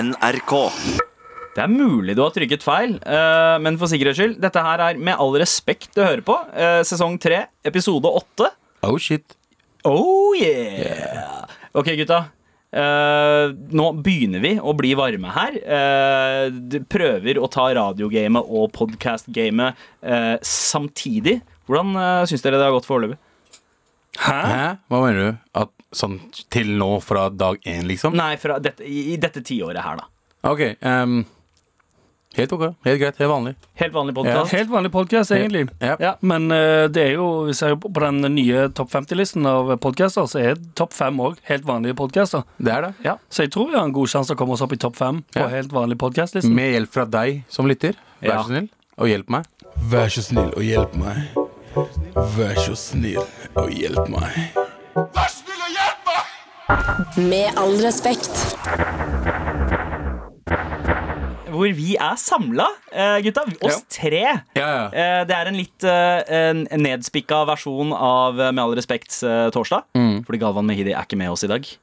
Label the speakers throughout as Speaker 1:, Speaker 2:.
Speaker 1: NRK.
Speaker 2: Det er mulig du har trykket feil, eh, men for sikkerhets skyld, dette her er med all respekt du hører på. eh, Sesong tre, episode åtte.
Speaker 3: Oh shit.
Speaker 2: Oh yeah! Ok, gutta. Eh, nå begynner vi å bli varme her. Eh, d- prøver å ta radiogamet og podkastgamet eh, samtidig. Hvordan uh, syns dere det har gått foreløpig?
Speaker 3: Hæ? Hva mener du? At sånn til nå fra dag én, liksom?
Speaker 2: Nei, fra dette, i, i dette tiåret her, da.
Speaker 3: Ok. ehm, helt ok. Helt greit. Helt vanlig.
Speaker 2: Helt vanlig podkast.
Speaker 4: Helt vanlig podkast, egentlig.
Speaker 3: Ja.
Speaker 2: Ja.
Speaker 4: Men eh, det er jo, vi ser jo på på den nye topp 50-listen av podkaster, så er topp fem òg helt vanlige podkaster.
Speaker 3: Det er det.
Speaker 4: Så jeg tror vi har en god sjanse å komme oss opp i topp fem på
Speaker 3: Ja.
Speaker 4: helt vanlig podkastlisten.
Speaker 3: Med hjelp fra deg som lytter. Vær
Speaker 2: Ja.
Speaker 3: så snill, og hjelp meg.
Speaker 5: Vær så snill og hjelp meg. Vær så snill og hjelp meg.
Speaker 6: Med all respekt.
Speaker 2: Hvor vi er samla, gutta. Oss tre.
Speaker 3: Ja, ja.
Speaker 2: Eh, Det er en litt eh, en nedspikka versjon av eh, Med all respekts eh, torsdag.
Speaker 3: Mm.
Speaker 2: Fordi Galvan Mehidi er ikke med oss i dag.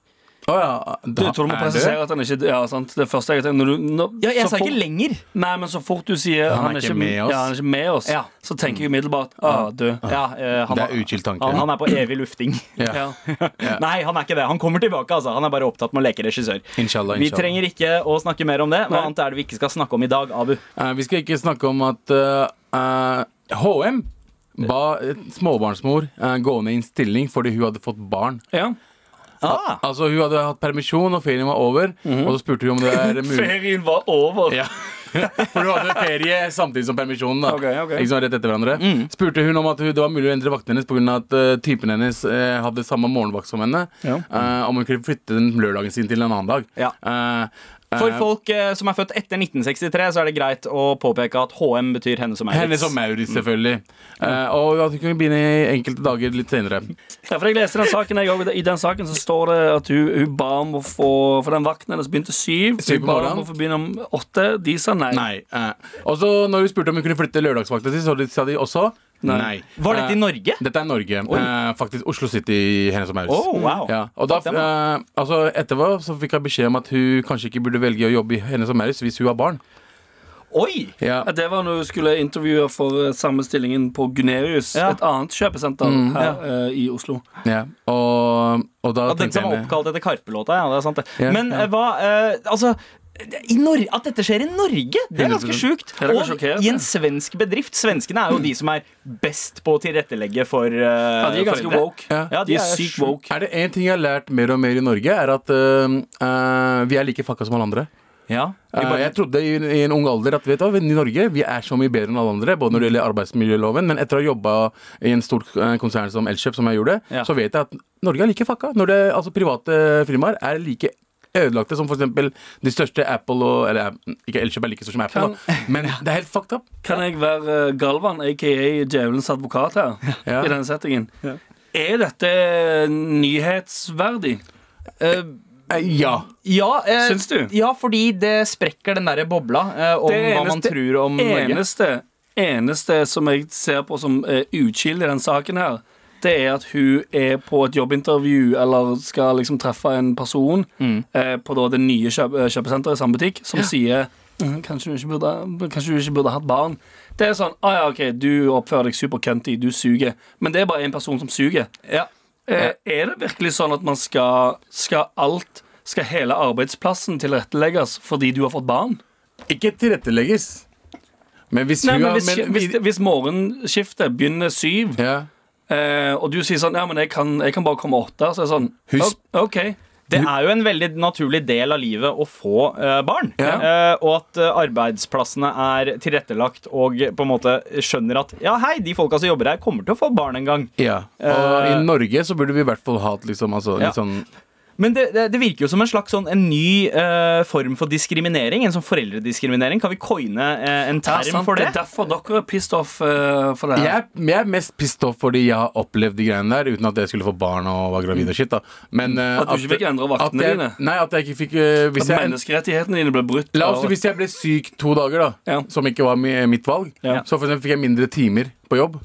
Speaker 3: Å ja.
Speaker 4: Du
Speaker 3: Da
Speaker 4: tror du må
Speaker 3: er
Speaker 4: presisere at han ikke Ja, sant. Det første jeg tenker når du, når,
Speaker 2: Ja, jeg
Speaker 4: så
Speaker 2: sa ikke
Speaker 4: fort-
Speaker 2: lenger.
Speaker 4: Nei, men så fort du sier han, er ikke med oss, ja, han er ikke med oss
Speaker 2: Ja.
Speaker 4: så tenker jeg umiddelbart ah, du.
Speaker 2: Ja, eh, han,
Speaker 3: Det er utkild tanke.
Speaker 2: han, han er på evig lufting.
Speaker 3: Ja.
Speaker 2: Nei, han er ikke det. Han kommer tilbake. altså Han er bare opptatt med å leke regissør.
Speaker 3: Inshallah,
Speaker 2: Vi
Speaker 3: inshallah.
Speaker 2: trenger ikke å snakke mer om det. Hva
Speaker 4: Nei.
Speaker 2: annet er det vi ikke skal snakke om i dag, Abu?
Speaker 3: Eh, vi skal ikke snakke om at eh, eh, HM ba eh, småbarnsmor eh, gå ned i en stilling fordi hun hadde fått barn.
Speaker 4: Ja.
Speaker 2: Ah,
Speaker 3: Altså Hun hadde hatt permisjon, og ferien var over. Og så spurte hun om det er mulig.
Speaker 4: Ferien var over.
Speaker 3: Ja. For hun hadde ferie samtidig som permisjonen. da
Speaker 4: Ok, ok.
Speaker 3: Ikke sånn rett etter hverandre Spurte hun om at hun, det var mulig å endre vakten hennes pga. at eh, typen hennes eh, hadde samme morgenvakt som henne.
Speaker 4: Ja.
Speaker 3: Eh, om hun kunne flytte den lørdagen sin til en annen dag.
Speaker 2: Ja.
Speaker 3: Eh, eh,
Speaker 2: for folk eh, som er født etter 1963, så er det greit å påpeke at HM betyr henne som
Speaker 3: Henne
Speaker 2: Maurits.
Speaker 3: som Maurits, selvfølgelig. Eh, og at hun kunne begynne i enkelte dager litt senere.
Speaker 4: Ja, for jeg leste den saken jeg også. I den saken så står det at hun, hun ba om å få For den vakten hennes begynte syv.
Speaker 3: Syv
Speaker 4: hun
Speaker 3: på
Speaker 4: ba
Speaker 3: morgenen.
Speaker 4: om å få begynne om åtte. De sa nei.
Speaker 3: Nei. eh. og så når hun spurte om hun kunne flytte lørdagsvakten sin, så sa de også nei.
Speaker 2: Var dette
Speaker 3: Eh,
Speaker 2: i Norge?
Speaker 3: Dette er Norge. Eh, faktisk Oslo City, Hennes og Maurits.
Speaker 2: Oh, wow.
Speaker 3: Ja, og da,
Speaker 2: Fuck dem, da.
Speaker 3: eh, altså Etterpå så fikk jeg beskjed om at hun kanskje ikke burde velge å jobbe i Hennes og Maurits hvis hun har barn.
Speaker 2: Oi!
Speaker 3: Ja.
Speaker 4: Ja, det var når hun skulle intervjue for eh, samme stillingen på Gunerius.
Speaker 2: Ja.
Speaker 4: Et annet kjøpesenter her eh, i Oslo.
Speaker 3: Ja. Og, og da
Speaker 2: Ja, den
Speaker 3: tenkte
Speaker 2: som
Speaker 3: jeg
Speaker 2: er
Speaker 3: meg-
Speaker 2: oppkalt etter Karpe-låta, ja. Det er sant, det.
Speaker 3: Ja,
Speaker 2: Men
Speaker 3: ja.
Speaker 2: eh, hva eh, Altså. I Nor at dette skjer i Norge, det er ganske
Speaker 3: 100%.
Speaker 2: sjukt.
Speaker 4: er
Speaker 2: Og
Speaker 4: ganske sjokkerende.
Speaker 2: i en svensk bedrift. Svenskene er jo de som er best på å tilrettelegge for uh,
Speaker 4: Ja, de er ganske woke.
Speaker 3: Ja.
Speaker 2: Ja,
Speaker 4: De er sykt woke.
Speaker 3: Er det én ting jeg har lært mer og mer i Norge, er at eh, eh, vi er like fucka som alle andre.
Speaker 2: Ja.
Speaker 3: Eh, jeg trodde i, i en ung alder at vet du, hva, i Norge vi er så mye bedre enn alle andre. Både når det gjelder arbeidsmiljøloven, men etter å ha jobba i en stort eh, konsern som Elkjøp, som jeg gjorde,
Speaker 2: Ja.
Speaker 3: så vet jeg at Norge er like fucka. Når det, altså Private firmaer er like ødelagte som f.eks. de største Apple og Eller eh, ikke Elkjøp er like stor som Apple,
Speaker 4: Kan-
Speaker 3: da. men det er helt fucked up.
Speaker 4: Kan jeg være eh, Galvan, aka djevelens advokat her,
Speaker 3: Ja.
Speaker 4: i denne settingen? Er dette nyhetsverdig?
Speaker 2: Eh,
Speaker 3: Eh, ja.
Speaker 2: ja, eh,
Speaker 4: Syns du?
Speaker 2: ja, fordi det sprekker den derre bobla eh, om
Speaker 4: Det
Speaker 2: hva man
Speaker 4: eneste-
Speaker 2: tror om Norge.
Speaker 4: Eneste, eneste som jeg ser på som eh, utskill i den saken her, det er at hun er på et jobbintervju eller skal liksom treffe en person
Speaker 2: Mm.
Speaker 4: eh, på da det nye kjøp eh, kjøpesenteret i samme butikk, som sier «Mm, kanskje du, ikke burde, kanskje du ikke burde hatt barn. Det er sånn ah, ja, OK, du oppfører deg supercunty, du suger. Men det er bare én person som suger.
Speaker 2: Ja.
Speaker 4: Eh, er det virkelig sånn at man skal, skal alt Skal hele arbeidsplassen tilrettelegges fordi du har fått barn?
Speaker 3: Ikke tilrettelegges. Men hvis
Speaker 4: Nei,
Speaker 3: hun
Speaker 4: men
Speaker 3: har
Speaker 4: hvis,
Speaker 3: men,
Speaker 4: hvis, hvis morgenskiftet begynner syv,
Speaker 3: ja.
Speaker 4: eh, og du sier sånn Ja, men jeg kan, jeg kan bare komme åtte, så er det sånn
Speaker 3: Husk-
Speaker 4: «Ok, OK.
Speaker 2: Det er jo en veldig naturlig del av livet å få eh, barn. Eh, og at eh, arbeidsplassene er tilrettelagt og på en måte skjønner at ja, hei, de folka som jobber her, kommer til å få barn en gang.
Speaker 3: ja. Og i Norge så burde vi i hvert fall hatt liksom, altså,
Speaker 2: Ja.
Speaker 3: litt sånn
Speaker 2: Men det, det, det virker jo som en slags sånn, en ny eh, form for diskriminering. En sånn foreldrediskriminering. Kan vi coine eh, en
Speaker 4: Ja,
Speaker 2: term
Speaker 4: sant,
Speaker 2: for
Speaker 4: det
Speaker 2: det?
Speaker 4: er derfor dere er pissed off eh, for det
Speaker 3: jeg,
Speaker 4: her.
Speaker 3: er- jeg er mest pissed off fordi jeg har opplevd de greiene der uten at jeg skulle få barn og var gravid og shit. da Men, eh,
Speaker 4: At du ikke fikk endre vaktene
Speaker 3: at jeg,
Speaker 4: dine.
Speaker 3: Nei, at jeg ikke fikk eh, hvis
Speaker 4: At
Speaker 3: jeg,
Speaker 4: menneskerettighetene dine ble brutt.
Speaker 3: La oss si
Speaker 4: og-
Speaker 3: hvis jeg ble syk to dager, da,
Speaker 4: Ja.
Speaker 3: som ikke var mi, mitt valg,
Speaker 4: Ja. Oh.
Speaker 3: så for eksempel fikk jeg mindre timer på jobb.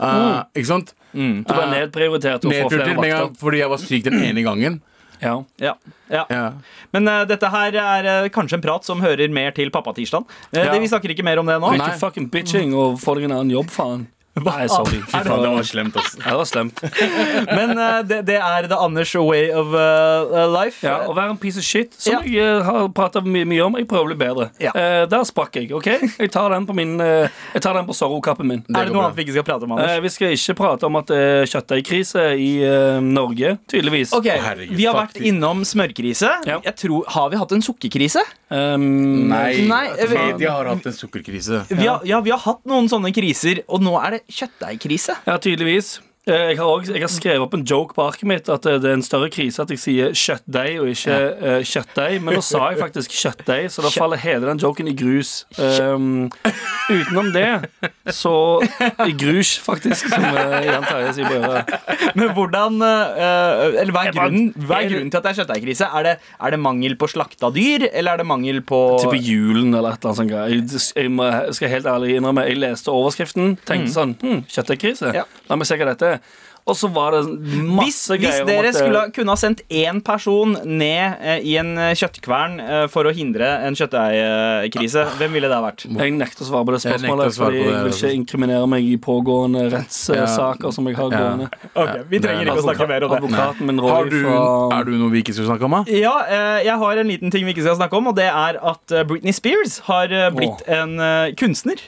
Speaker 3: Eh, Ikke sant?
Speaker 4: Mm. Du ble nedprioritert og får
Speaker 3: Nedprioritert
Speaker 4: flere
Speaker 3: med en gang
Speaker 4: vakter.
Speaker 3: fordi jeg var syk den ene gangen.
Speaker 4: Ja.
Speaker 2: Ja, ja.
Speaker 3: Ja.
Speaker 2: Men eh, dette her er eh, kanskje en prat som hører mer til pappatirsdagen. Uh,
Speaker 4: Ja.
Speaker 2: det- Vi snakker ikke mer om det nå.
Speaker 4: Ikke fucking bitching og få deg en annen jobb, faen. Nei, sorry. Fy faen, det var slemt, ass. Det var slemt.
Speaker 2: Men eh, det, det er The Anders way of eh, life.
Speaker 4: Ja, Å være en piece of shit, som
Speaker 2: Ja.
Speaker 4: jeg eh, har prata mye, mye om. Jeg prøver å bli bedre.
Speaker 2: Ja.
Speaker 4: Eh, der sprakk jeg. ok? Jeg tar den på min eh, Jeg tar den på Zorro-kappen min.
Speaker 2: er det noe
Speaker 3: går bra.
Speaker 2: annet vi ikke skal prate om,
Speaker 4: Eh,
Speaker 2: Anders?
Speaker 4: vi skal ikke prate om at det er kjøttdeigkrise i eh, Norge, tydeligvis.
Speaker 2: Ok,
Speaker 5: herregud,
Speaker 2: Vi har vært
Speaker 5: faktisk.
Speaker 2: innom smørkrise.
Speaker 4: Ja.
Speaker 2: Jeg tror, har vi hatt en sukkerkrise?
Speaker 4: Um,
Speaker 2: Nei, jeg vet-
Speaker 3: Media har hatt en sukkerkrise.
Speaker 2: Vi har, ja, vi har hatt noen sånne kriser, og nå er det kjøttdeigkrise.
Speaker 4: Ja, tydeligvis. Eh, Jeg har, også, jeg har skrevet opp en joke på arket mitt at eh, det er en større krise at jeg sier kjøttdeig og ikke eh, kjøttdeig. Men nå sa jeg faktisk kjøttdeig, så da faller hele den joken i grus. Um, utenom det, så I grus, faktisk, som eh, Jan Terje sier på øret.
Speaker 2: Men hvordan eh, Eller hva er
Speaker 4: Jeg bare-
Speaker 2: grunnen, hva er grunnen til at det er kjøttdeigkrise? Er det, er det mangel på slakta dyr, eller er det mangel på
Speaker 4: Type julen eller et eller annet sånt. greier. Jeg, jeg må, jeg skal helt ærlig innrømme, jeg leste overskriften, tenkte sånn hm, Kjøttdeigkrise?
Speaker 2: Mm. Ja.
Speaker 4: La meg se hva dette er. Og så var det
Speaker 2: Hvis,
Speaker 4: masse
Speaker 2: hvis
Speaker 4: greier om
Speaker 2: dere
Speaker 4: at, eh,
Speaker 2: skulle ha- kunne ha sendt én person ned eh, i en eh, kjøttkvern eh, for å hindre en kjøttdeigkrise, hvem ville det ha vært?
Speaker 4: Jeg nekter å svare på det
Speaker 3: Jeg nekter
Speaker 4: spørsmålet,
Speaker 3: å svare
Speaker 4: fordi
Speaker 3: på det,
Speaker 4: jeg vil
Speaker 3: altså.
Speaker 4: ikke inkriminere meg i pågående rettssaker som jeg har
Speaker 3: Ja.
Speaker 4: gående.
Speaker 2: Ok, Vi trenger ikke å snakke mer om det.
Speaker 4: Advokaten min
Speaker 3: Har
Speaker 4: Roy
Speaker 3: du,
Speaker 4: fra
Speaker 3: er du noe vi ikke skulle snakke om? da?
Speaker 2: Ja, eh, jeg har en liten ting vi ikke skal snakke om, og det er at eh, Britney Spears har eh, blitt en eh, kunstner.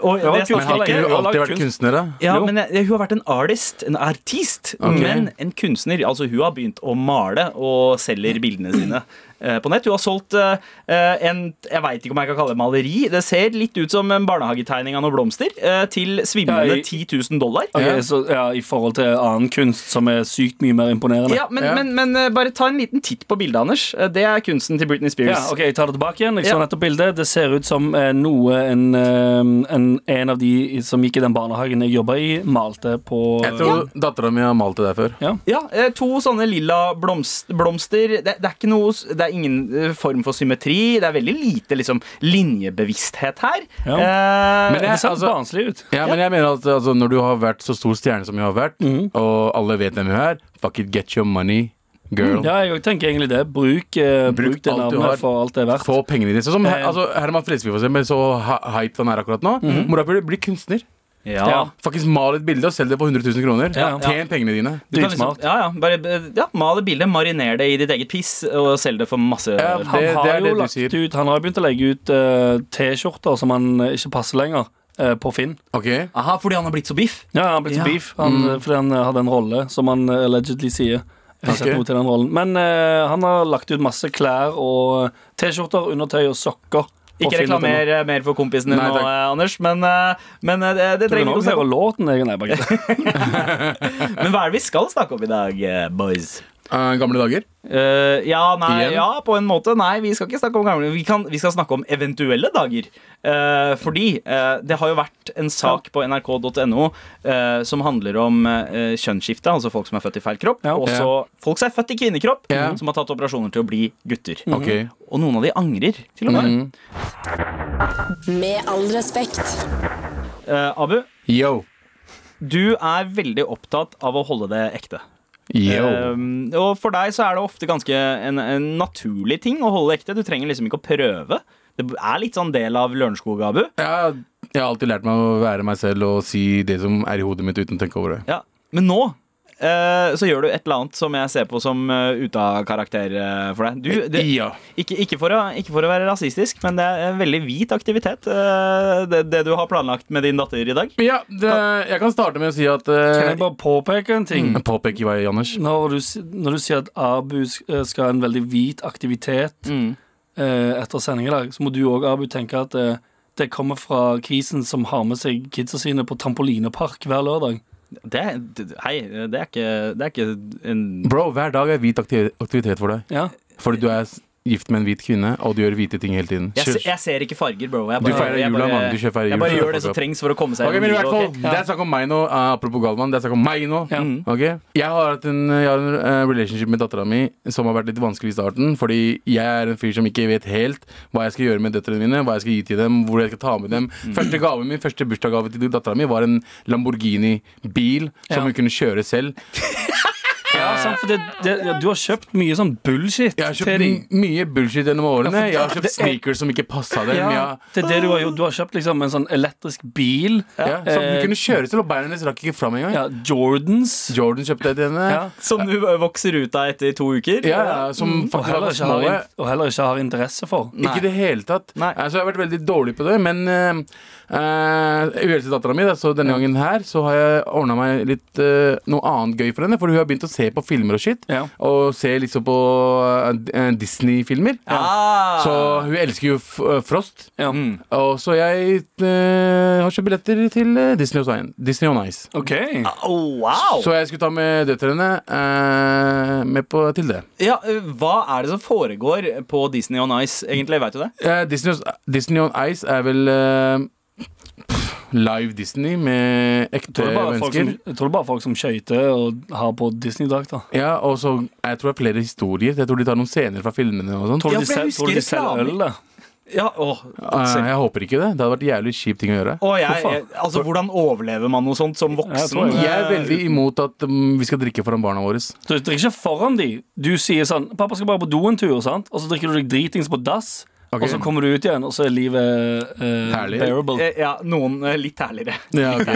Speaker 2: Og
Speaker 4: var
Speaker 2: det
Speaker 4: kunstner
Speaker 2: snakker jeg
Speaker 3: Men har ikke
Speaker 2: ikke
Speaker 3: du
Speaker 4: har
Speaker 3: alltid
Speaker 4: lagd
Speaker 3: vært
Speaker 4: kunst.
Speaker 3: kunstner, da?
Speaker 2: Ja, men eh, hun har vært en artist, en artist, men en kunstner. Altså, hun har begynt å male og selger bildene sine eh, på nett. Hun har solgt eh, eh, en Jeg veit ikke om jeg kan kalle det maleri. Det ser litt ut som en barnehagetegning av noen blomster, eh, til
Speaker 4: Ja,
Speaker 2: svimlende
Speaker 4: jeg-
Speaker 2: 10 000 dollar.
Speaker 4: Ok, så, ja, I forhold til annen kunst som er sykt mye mer imponerende.
Speaker 2: Ja, men,
Speaker 3: Ja.
Speaker 2: men, men eh, bare ta en liten titt på bildet, Anders. Eh, Det er kunsten til Britney Spears.
Speaker 4: Ja, ok, Jeg tar det tilbake igjen. Jeg så
Speaker 2: Ja.
Speaker 4: nettopp bildet. Det ser ut som eh, noe en, eh, en, en av de som gikk i den barnehagen jeg jobba i, malte på
Speaker 3: Jeg tror dattera mi har malt det der før.
Speaker 2: Ja, eh, to sånne lilla blomst, blomster. Det, det, er ikke noe, s- det er ingen eh, form for symmetri. Det er veldig lite liksom, linjebevissthet her.
Speaker 4: Ja.
Speaker 2: Eh,
Speaker 3: Men
Speaker 4: Det ser
Speaker 3: altså-
Speaker 4: barnslig ut.
Speaker 3: Ja, men jeg mener at altså, Når du har vært så stor stjerne som hun har vært, og alle vet hvem hun er Fuck it, get your money, girl.
Speaker 4: Mm, Ja, jeg tenker egentlig det. Bruk, eh,
Speaker 3: Bruk
Speaker 4: bruk det
Speaker 3: alt du har.
Speaker 4: navnet for alt det er verdt.
Speaker 3: Få pengene dine. Sånn som
Speaker 4: Eh.
Speaker 3: altså, Herman Flesvig, for eksempel, så hy- hyped han er akkurat nå. Mora burde bli kunstner.
Speaker 2: ja.
Speaker 4: Ja.
Speaker 3: Faktisk mal et bilde og selg det for 100 000 kroner.
Speaker 4: Ja, ja.
Speaker 3: Tjen pengene dine.
Speaker 2: Du kan liksom,
Speaker 4: Dritsmart.
Speaker 2: ja, ja, bare, eh, ja, Mal et bilde, mariner det i ditt eget piss og selg det for masse
Speaker 3: Ja,
Speaker 4: Han
Speaker 3: Det-
Speaker 4: har
Speaker 3: det er det
Speaker 4: jo
Speaker 3: du
Speaker 4: lagt
Speaker 3: sier.
Speaker 4: ut Han har jo begynt å legge ut eh, T-skjorter som han eh, ikke passer lenger, eh, på Finn.
Speaker 3: Ok
Speaker 2: Aha, fordi han har blitt så biff?
Speaker 4: Ja, han har blitt
Speaker 2: Ja.
Speaker 4: beef han, eh, fordi han eh, hadde en rolle, som han eh, allegedly sier. Jeg har ikke
Speaker 3: Ok.
Speaker 4: sett noe til den rollen Men eh, han har lagt ut masse klær og eh, T-skjorter, undertøy og sokker. på
Speaker 2: Ikke
Speaker 4: Finn.no.
Speaker 2: reklamer eh, mer for kompisen din
Speaker 3: Nei,
Speaker 2: nå,
Speaker 3: takk.
Speaker 2: eh, Anders, men, eh, men eh, det, det
Speaker 4: Tror du
Speaker 2: trenger vi
Speaker 4: noen
Speaker 2: ikke å snakke
Speaker 4: hører
Speaker 2: om.
Speaker 4: låten? Jeg, nei, bare ikke.
Speaker 2: Men hva er det vi skal snakke om i dag, eh, boys?
Speaker 3: Eh, Gamle dager.
Speaker 2: Eh, ja, nei,
Speaker 3: Igjen?
Speaker 2: ja, på en måte. Nei, vi skal ikke snakke om gamle Vi, kan, vi skal snakke om eventuelle dager. Eh, fordi eh, det har jo vært en sak på nrk.no eh, som handler om eh, kjønnsskifte, altså folk som er født i feil kropp.
Speaker 4: Ja.
Speaker 2: Og så folk som er født i kvinnekropp,
Speaker 3: Ja.
Speaker 2: som har tatt operasjoner til å bli gutter. Mm.
Speaker 3: Ok. Mm. Mhm.
Speaker 2: Og noen av de angrer, til og med.
Speaker 6: Med all respekt.
Speaker 2: Eh, Abu,
Speaker 3: Yo.
Speaker 2: du er veldig opptatt av å holde det ekte.
Speaker 3: Yo.
Speaker 2: Eh, og for deg så er det ofte ganske en, en naturlig ting å holde ekte. Du trenger liksom ikke å prøve. Det er litt sånn del av Lørenskog, Abu.
Speaker 3: Jeg, jeg har alltid lært meg å være meg selv og si det som er i hodet mitt, uten å tenke over det.
Speaker 2: Ja. Men nå eh, så gjør du et eller annet som jeg ser på som eh, ute av karakter eh, for deg. Du, det,
Speaker 3: Ja.
Speaker 2: ikke, ikke, for å, ikke for å være rasistisk, men det er en veldig hvit aktivitet, eh, det, det du har planlagt med din datter i dag.
Speaker 3: Ja, det, jeg kan starte med å si at
Speaker 4: kan
Speaker 3: uh,
Speaker 4: jeg bare påpeke en ting?
Speaker 3: Påpeke hva, Anders?
Speaker 4: Når, du, si- når du sier at Abu s- eh, skal ha en veldig hvit aktivitet
Speaker 3: Mm.
Speaker 4: eh, etter sending i dag, så må du òg, Abu, tenke at eh, det kommer fra kisen som har med seg kidsa sine på trampolinepark hver lørdag.
Speaker 2: Det, det, hei, det er ikke, det er ikke en
Speaker 3: Bro, hver dag er hvit akti- aktivitet for deg.
Speaker 4: Ja.
Speaker 3: Fordi du er s- gift med en hvit kvinne, og du gjør hvite ting hele tiden.
Speaker 2: jeg,
Speaker 3: Kjør.
Speaker 2: se- jeg ser ikke farger, bro. Jeg
Speaker 3: Du feirer
Speaker 2: jeg
Speaker 3: jula, mann. Du kjører feirer
Speaker 2: Jeg
Speaker 3: jul,
Speaker 2: bare
Speaker 3: så
Speaker 2: gjør det
Speaker 3: fuck
Speaker 2: som
Speaker 3: up.
Speaker 2: trengs for å komme seg
Speaker 3: Ok, men i
Speaker 2: livet,
Speaker 3: hvert fall,
Speaker 2: ok?
Speaker 3: Det er snakk om meg nå. eh, apropos Galvan, det er snakk om meg nå. Mm.
Speaker 4: Ja.
Speaker 3: Ok? Jeg har hatt en, jeg har en eh, relationship med dattera mi som har vært litt vanskelig i starten. Fordi jeg er en fyr som ikke vet helt hva jeg skal gjøre med døtrene mine. Hva jeg skal gi til dem, hvor jeg skal ta med dem. Første gaven min, første bursdagsgave til dattera mi var en Lamborghini-bil som
Speaker 4: Ja.
Speaker 3: hun kunne kjøre selv.
Speaker 4: Ja, sant, for det, det, ja, du har kjøpt mye sånn bullshit
Speaker 3: Jeg har
Speaker 4: til de.
Speaker 3: kjøpt m- mye bullshit gjennom årene. Jeg har
Speaker 4: det-
Speaker 3: kjøpt sneakers som ikke passa dem.
Speaker 4: Ja,
Speaker 3: Ja.
Speaker 4: det er det du har gjort. Du har kjøpt liksom en sånn elektrisk bil.
Speaker 3: Ja, som du
Speaker 4: Eh,
Speaker 3: kunne kjøre til, og beina hennes rakk ikke fram engang.
Speaker 4: Ja, Jordans.
Speaker 3: Jordan kjøpte jeg til henne.
Speaker 4: Ja. Mm.
Speaker 2: Som du vokser ut av etter to uker.
Speaker 3: Ja, ja, som
Speaker 4: Og
Speaker 3: faktisk
Speaker 4: heller,
Speaker 3: var
Speaker 4: ikke har,
Speaker 3: små. Mm.
Speaker 4: in- og heller ikke har interesse for.
Speaker 2: Nei.
Speaker 3: Ikke i det hele tatt.
Speaker 2: Nei.
Speaker 3: Altså, jeg har vært veldig dårlig på det, men eh, uh, uheldig til dattera mi, så denne gangen her så har jeg ordna meg litt eh, noe annet gøy for henne. For hun har begynt å se på filmer og shit.
Speaker 4: Ja.
Speaker 3: Og se liksom på eh, Disney-filmer.
Speaker 2: Ah.
Speaker 3: Så hun elsker jo F eh, Frost.
Speaker 4: Ja.
Speaker 2: Mm.
Speaker 3: Og så jeg eh, har kjøpt billetter til eh, Disney, og Science- Disney on Ice.
Speaker 4: OK.
Speaker 2: Oh, wow!
Speaker 3: Så jeg skulle ta med døtrene eh, med på, til det.
Speaker 2: Ja, eh, hva er det som foregår på Disney on Ice, egentlig? Vet du det?
Speaker 3: Eh, Disney, Disney on Ice er vel eh, pff, live Disney med
Speaker 4: Jeg
Speaker 3: ekte
Speaker 4: tror det er bare folk som,
Speaker 3: mennesker.
Speaker 4: jeg tror det er bare folk som skøyter og har på Disney-drakter.
Speaker 3: Ja, og så Jeg tror det er flere historier. Jeg tror de tar noen scener fra filmene og sånn.
Speaker 4: Tror du
Speaker 2: Ja,
Speaker 4: de,
Speaker 2: for jeg
Speaker 4: sel- tror du de
Speaker 2: husker
Speaker 4: selger
Speaker 2: reklamer.
Speaker 4: øl, da?
Speaker 2: Ja, åh,
Speaker 3: Eh,
Speaker 2: se.
Speaker 3: jeg håper ikke det. Det hadde vært jævlig kjip ting å gjøre.
Speaker 2: Å, jeg, jeg, altså, hvordan overlever man noe sånt som
Speaker 4: Jeg
Speaker 2: voksen?
Speaker 4: tror jeg-
Speaker 3: Jeg er veldig imot at mm, vi skal drikke foran barna våre.
Speaker 4: Du drikker ikke foran de Du sier sånn 'Pappa skal bare på do en tur', sant? og så drikker du deg dritings på dass,
Speaker 3: Ok.
Speaker 4: og så kommer du ut igjen, og så er livet eh,
Speaker 3: Herlig.
Speaker 4: bearable.
Speaker 2: Eh, Ja, noen eh, litt ærligere.
Speaker 3: Ja, ok.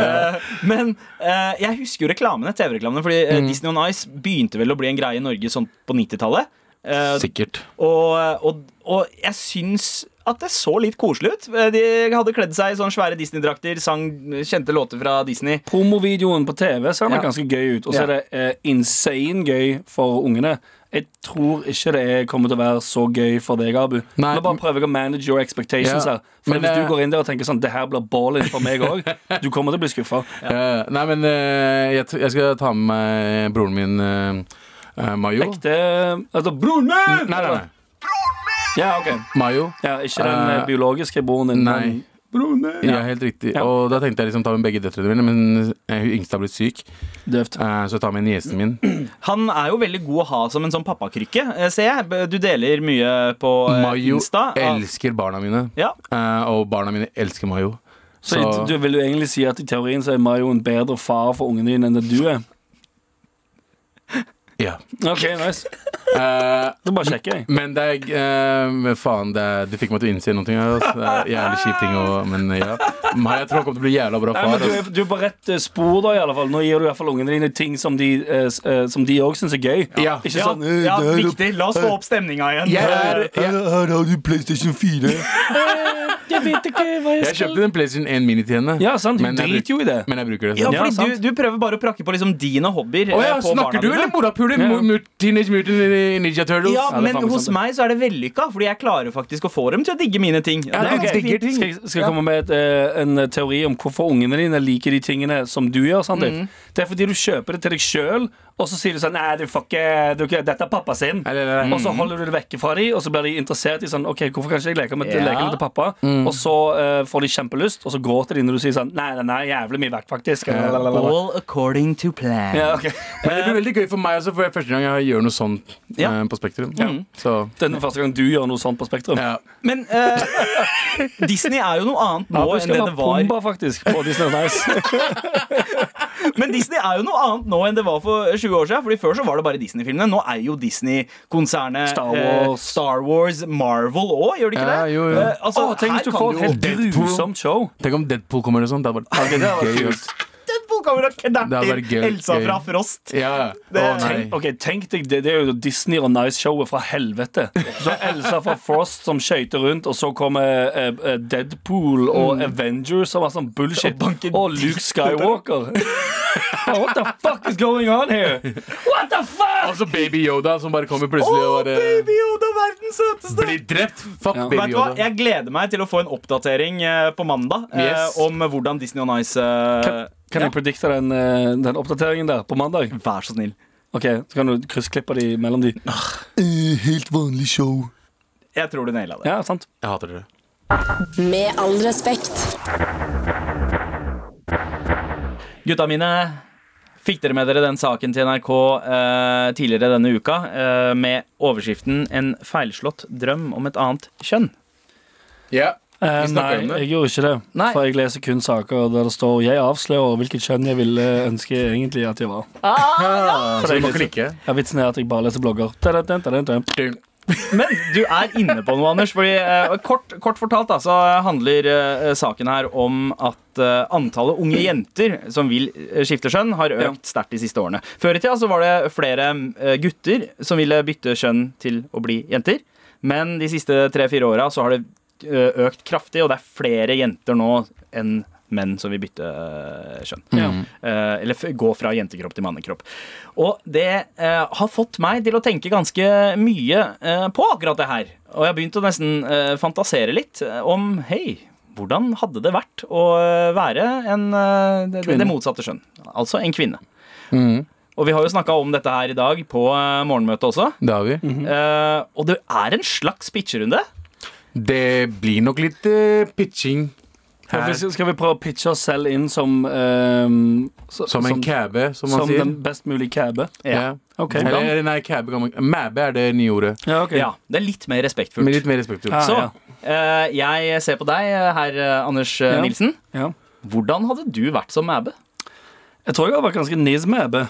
Speaker 2: Men eh, jeg husker jo reklamene, TV-reklamene, fordi
Speaker 3: Mm.
Speaker 2: eh, Disney on Ice begynte vel å bli en greie i Norge sånn på 90-tallet. Eh,
Speaker 3: Sikkert.
Speaker 2: og, og, og jeg syns at det så litt koselig ut. Eh, De hadde kledd seg i sånne svære Disney-drakter, sang kjente låter fra Disney.
Speaker 4: Promovideoen på TV ser den
Speaker 2: Ja.
Speaker 4: ganske gøy ut, og
Speaker 2: Ja.
Speaker 4: så er det eh, insane gøy for ungene. Jeg tror ikke det er- kommer til å være så gøy for deg, Abu.
Speaker 3: Nei,
Speaker 4: Nå bare prøver jeg å manage your expectations
Speaker 3: Ja,
Speaker 4: her. For
Speaker 3: men eh,
Speaker 4: Hvis
Speaker 3: det-
Speaker 4: du går inn der og tenker sånn 'Det her blir ballen for meg òg', du kommer til å bli skuffa.
Speaker 3: Eh, nei, men eh, jeg, t jeg skal ta med meg broren min, eh, eh, Mayo.
Speaker 4: Ekte altså, 'Broren min!'
Speaker 3: Nei, nei, nei.
Speaker 4: Ja, ok
Speaker 3: Mayo.
Speaker 4: ja, Ikke den eh,
Speaker 3: Eh,
Speaker 4: biologiske broren din.
Speaker 3: nei.
Speaker 4: men- Broren min!
Speaker 3: Ja,
Speaker 4: Ja,
Speaker 3: helt riktig.
Speaker 4: Ja.
Speaker 3: Og da tenkte jeg liksom ta med begge døtrene mine, men eh, hun yngste har blitt syk.
Speaker 4: døvt.
Speaker 3: Eh, Så jeg tar med niesen min.
Speaker 2: Han er jo veldig god å ha som en sånn pappakrykke, eh, ser jeg. Du deler mye på eh,
Speaker 3: Mayo
Speaker 2: Insta.
Speaker 3: elsker barna mine.
Speaker 2: Ja.
Speaker 3: Eh, Og barna mine elsker Mayo.
Speaker 4: Så,
Speaker 3: Så-
Speaker 4: du vil jo egentlig si at i teorien så er Mayo en bedre far for ungene dine enn det du er?
Speaker 3: Ja.
Speaker 4: OK, nice.
Speaker 3: Eh,
Speaker 4: Da bare sjekker jeg.
Speaker 3: Men det er eh, men Faen, det er, du fikk meg til å innse noe. Altså. Det er jævlig kjip ting å Men eh, ja. Mayo, jeg tror han kommer til å bli jævla bra
Speaker 4: Nei, men
Speaker 3: far.
Speaker 4: du,
Speaker 3: Altså.
Speaker 4: er, du er på rett eh, spor, da. i alle fall Nå gir du i hvert fall ungene dine ting som de eh, s- eh, Som de òg syns er gøy.
Speaker 3: Ja.
Speaker 4: Ikke
Speaker 2: Ja,
Speaker 4: sånn
Speaker 2: ja, viktig. La oss få opp stemninga igjen.
Speaker 3: Jeg, er, jeg,
Speaker 5: Her har du PlayStation 4.
Speaker 4: "Eh, Jeg vet ikke hva
Speaker 3: jeg kjøpte en PlayStation 1 Mini til henne,
Speaker 4: Ja, sant.
Speaker 3: Men
Speaker 4: Hun
Speaker 3: jeg bruk-
Speaker 4: driter jo i det.
Speaker 3: men jeg bruker det.
Speaker 2: Ja,
Speaker 3: sånn.
Speaker 4: Ja,
Speaker 2: fordi
Speaker 4: sant.
Speaker 2: du, du prøver bare å prakke på liksom dine hobbyer.
Speaker 3: Å ja,
Speaker 2: eh, på barna
Speaker 3: snakker du,
Speaker 2: dine.
Speaker 3: eller morapuler?
Speaker 4: Ja.
Speaker 3: Mo- mu- Teenage Mutant Ninja Turtles?
Speaker 2: Ja,
Speaker 4: Ja, det er
Speaker 2: men
Speaker 4: faen meg
Speaker 2: hos
Speaker 4: sant, det.
Speaker 2: meg så er det vellykka, fordi jeg klarer faktisk å få dem til å digge mine ting.
Speaker 3: Ja,
Speaker 2: Det er
Speaker 3: du
Speaker 2: ganske
Speaker 3: digger
Speaker 2: fint.
Speaker 3: ting.
Speaker 4: Skal jeg, skal jeg komme med et, eh, en teori om hvorfor ungene dine liker de tingene som du gjør? Sandeep?
Speaker 2: Mm.
Speaker 4: Det er fordi du kjøper det til deg sjøl, og så sier du sånn Nei, du får ikke, du, ikke- dette er pappa sin.
Speaker 3: Nei, nei, nei, nei.
Speaker 4: Og så holder du det vekke fra dem, og så blir de interessert i sånn OK, hvorfor kan ikke jeg leke med
Speaker 2: Ja.
Speaker 4: lekene til pappa?
Speaker 2: Mm.
Speaker 4: Og så eh, får de kjempelyst, og så gråter de når du sier sånn Nei, den er jævlig mye verdt, faktisk. Ja,
Speaker 2: All according to plan.
Speaker 4: ok
Speaker 3: Men det blir veldig gøy for meg også, for det er første gang jeg gjør noe sånt
Speaker 2: Ja.
Speaker 3: eh, på Spektrum. Så
Speaker 4: Det er den første gang du gjør noe sånt på Spektrum.
Speaker 3: ja.
Speaker 2: Men eh, Disney er jo noe annet nå
Speaker 4: Abu
Speaker 2: enn
Speaker 4: skal
Speaker 2: det
Speaker 4: ha
Speaker 2: det var
Speaker 4: Pumba, faktisk, på Disney Nice.
Speaker 2: Men Disney er jo noe annet nå enn det var for 20 år siden. Fordi Før så var det bare Disney-filmene. Nå er jo Disney-konsernet
Speaker 4: Star
Speaker 2: eh,
Speaker 4: Wars.
Speaker 2: Star Wars, Marvel òg, gjør det ikke
Speaker 3: Ja,
Speaker 2: det?
Speaker 3: jo, jo.
Speaker 2: Eh, altså,
Speaker 4: Å, tenk
Speaker 2: her
Speaker 4: hvis du
Speaker 2: kan du
Speaker 4: får et
Speaker 2: jo-
Speaker 4: helt
Speaker 3: Deadpool.
Speaker 4: grusomt show.
Speaker 3: Tenk om Deadpool kommer eller sånn. Det hadde vært
Speaker 4: det hadde vært
Speaker 3: gøy.
Speaker 4: kult.
Speaker 3: ass.
Speaker 2: Deadpool kommer og
Speaker 3: Det hadde vært
Speaker 2: knerter
Speaker 3: gøy,
Speaker 2: Elsa
Speaker 3: gøy.
Speaker 2: fra Frost.
Speaker 3: Ja. Å
Speaker 2: Det-
Speaker 3: nei.
Speaker 4: Tenk, ok, tenk deg, det, det er jo Disney og Nice-showet fra helvete. Så Elsa fra Frost som skøyter rundt, og så kommer eh, eh, Deadpool og
Speaker 3: Mm.
Speaker 4: Avengers og masse sånn bullshit.
Speaker 2: Og banker
Speaker 4: Og, Luke Skywalker. What the fuck is going on here? What the fuck?
Speaker 3: Og så Baby Yoda som bare kommer plutselig
Speaker 2: Å,
Speaker 3: og
Speaker 4: eh,
Speaker 3: bare
Speaker 2: baby Yoda, verdens søteste!
Speaker 3: blir drept. Fuck
Speaker 4: Ja.
Speaker 3: Baby
Speaker 2: Vet du hva?
Speaker 3: Yoda.
Speaker 2: Jeg gleder meg til å få en oppdatering eh, på mandag eh,
Speaker 3: Yes.
Speaker 2: om hvordan Disney on Ice eh,
Speaker 4: Kan, kan jeg predikte den, eh, den oppdateringen der på mandag?
Speaker 2: Vær så snill.
Speaker 4: Ok, Så kan du kryssklippe de mellom de.
Speaker 5: Helt vanlig show.
Speaker 2: Jeg tror du naila det.
Speaker 4: Ja, sant?
Speaker 3: Jeg hater dere.
Speaker 6: Med all respekt.
Speaker 2: Gutta mine, fikk dere med dere den saken til NRK eh, tidligere denne uka eh, med overskriften 'En feilslått drøm om et annet kjønn'?
Speaker 3: Ja.
Speaker 4: Eh,
Speaker 3: Vi
Speaker 4: nei,
Speaker 3: snakker om det.
Speaker 4: jeg gjorde ikke det.
Speaker 3: Nei.
Speaker 4: For jeg leser kun saker der det står 'Jeg avslører hvilket kjønn jeg ville ønske egentlig at jeg var'.
Speaker 3: Ah, så du må klikke.
Speaker 4: Ja, Vitsen er at jeg bare leser blogger. Tadadadadadadam.
Speaker 2: Men du er inne på noe, Anders. Fordi, eh, kort, kort fortalt da, så handler eh, saken her om at eh, antallet unge jenter som vil eh, skifte kjønn, har økt sterkt de siste årene. Før i tida så var det flere eh, gutter som ville bytte kjønn til å bli jenter. Men de siste tre-fire åra så har det eh, økt kraftig, og det er flere jenter nå enn menn som vil bytte eh, kjønn. Eh, eller f gå fra jentekropp til mannekropp. Og det eh, har fått meg til å tenke ganske mye eh, på akkurat det her. Og jeg har begynt å nesten eh, fantasere litt eh, om Hei, hvordan hadde det vært å eh, være en, eh, det, det motsatte kjønn? Altså en kvinne. Og vi har jo snakka om dette her i dag på eh, morgenmøtet også.
Speaker 3: Det har vi.
Speaker 2: Eh, og det er en slags pitcherunde.
Speaker 3: Det blir nok litt eh, pitching
Speaker 4: Ja,
Speaker 3: her.
Speaker 4: vi Skal skal vi prøve å pitche oss selv inn som ehm, så-
Speaker 3: Som en cabbe, som man
Speaker 4: som
Speaker 3: sier.
Speaker 4: den best mulige cabbe?
Speaker 3: Ja.
Speaker 4: Ok.
Speaker 3: Eller, nei, cabbe kan man Mæbe er det nye ordet.
Speaker 4: Ja, ok.
Speaker 2: Ja, Det er litt mer respektfullt.
Speaker 3: Med litt mer respektfullt.
Speaker 4: Ja.
Speaker 2: Så eh, jeg ser på deg, eh, herr eh, Anders eh,
Speaker 4: Ja.
Speaker 2: Nilsen.
Speaker 4: Ja.
Speaker 2: Hvordan hadde du vært som mæbe?
Speaker 4: Jeg tror jeg har vært ganske nice med Ebbe.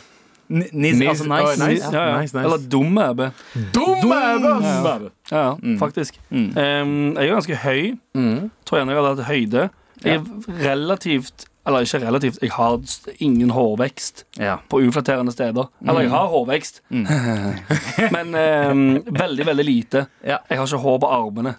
Speaker 2: N- Nis,
Speaker 3: Nis-
Speaker 2: altså nice.
Speaker 3: Oi,
Speaker 2: Ja.
Speaker 3: nice.
Speaker 4: Ja, ja.
Speaker 3: nice, nice.
Speaker 4: Eller dum med Ebbe.
Speaker 3: Dum mæbe! ass!
Speaker 4: Ja, ja, faktisk.
Speaker 2: Mm.
Speaker 4: Ehm, jeg er ganske høy.
Speaker 3: Mm.
Speaker 4: Tror gjerne jeg hadde hatt høyde. Jeg er relativt Eller ikke relativt, jeg har s- ingen hårvekst
Speaker 2: Ja.
Speaker 4: på uflatterende steder. Eller jeg har hårvekst,
Speaker 2: Mm.
Speaker 4: men ehm, veldig, veldig lite.
Speaker 2: Ja.
Speaker 4: Jeg har ikke hår på armene,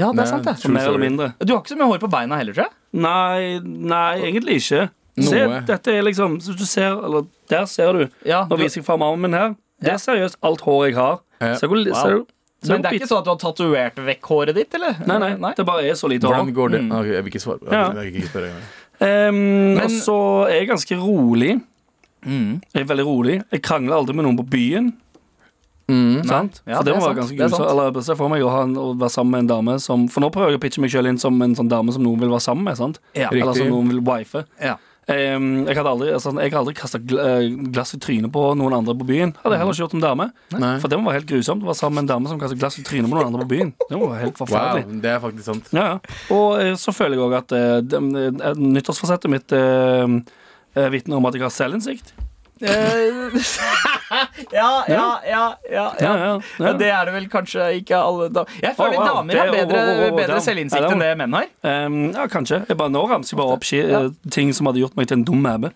Speaker 2: ja, det er sant,
Speaker 4: så
Speaker 2: det.
Speaker 4: mer eller mindre.
Speaker 2: Du har ikke så mye hår på beina heller, tror jeg.
Speaker 4: Nei, nei, egentlig ikke. Se,
Speaker 3: Noe.
Speaker 4: dette er liksom Hvis du ser, eller der ser du.
Speaker 2: Ja,
Speaker 4: Nå
Speaker 2: du,
Speaker 4: viser jeg fram armen min her. Det
Speaker 2: Ja.
Speaker 4: er seriøst alt håret jeg har.
Speaker 3: Ja.
Speaker 4: Ser du hvor li-
Speaker 2: Wow.
Speaker 4: ser du- ser
Speaker 2: men
Speaker 4: du
Speaker 2: det er
Speaker 4: bit-
Speaker 2: ikke sånn at du har tatovert vekk håret ditt, eller?
Speaker 4: Nei, nei, det bare er så lite hår.
Speaker 3: Hvordan går det?
Speaker 2: Mm.
Speaker 3: Ok, jeg vil ikke svare.
Speaker 4: Ja.
Speaker 3: Jeg vil ikke spørre engang.
Speaker 4: Um,
Speaker 2: Men-
Speaker 4: og så er jeg ganske rolig.
Speaker 2: Mm.
Speaker 4: Jeg er veldig rolig. Jeg krangler aldri med noen på byen.
Speaker 3: Mm.
Speaker 4: Sant?
Speaker 2: Ja,
Speaker 4: for det,
Speaker 2: det er
Speaker 4: må
Speaker 2: sant.
Speaker 4: være ganske
Speaker 2: Det er
Speaker 4: gul, så,
Speaker 2: sant.
Speaker 4: eller, Se for meg å, ha en, å være sammen med en dame som For nå prøver jeg å pitche meg sjøl inn som en sånn dame som noen vil være sammen med. Sant?
Speaker 2: Ja.
Speaker 3: Riktig.
Speaker 4: Eller som noen vil wife.
Speaker 2: Ja.
Speaker 4: Ehm, jeg, hadde aldri, altså, jeg har aldri kasta glass i trynet på noen andre på byen. Hadde jeg heller ikke gjort som dame.
Speaker 3: Nei.
Speaker 4: For det må være helt grusomt å være sammen med en dame som kastet glass i trynet på noen andre på byen. Det må være helt forferdelig.
Speaker 3: Wow, det er faktisk sant.
Speaker 4: Ja, ja. Og eh, så føler jeg òg at eh, dem- eh, nyttårsforsettet mitt eh, eh, vitner om at jeg har selvinnsikt.
Speaker 2: Eh, ja, ja, ja, ja, ja.
Speaker 4: ja,
Speaker 2: Ja, det er det vel kanskje ikke alle da Jeg føler
Speaker 4: Å, wow.
Speaker 2: damer har
Speaker 4: Det- å,
Speaker 2: bedre,
Speaker 4: å, å, å,
Speaker 2: bedre
Speaker 4: down.
Speaker 2: selvinnsikt
Speaker 4: Ja, down.
Speaker 2: enn det menn har.
Speaker 4: Ehm, ja, kanskje. Jeg bare Nå ramser jeg bare opp ski,
Speaker 2: Ja.
Speaker 4: eh, ting som hadde gjort meg til en dum mæbe.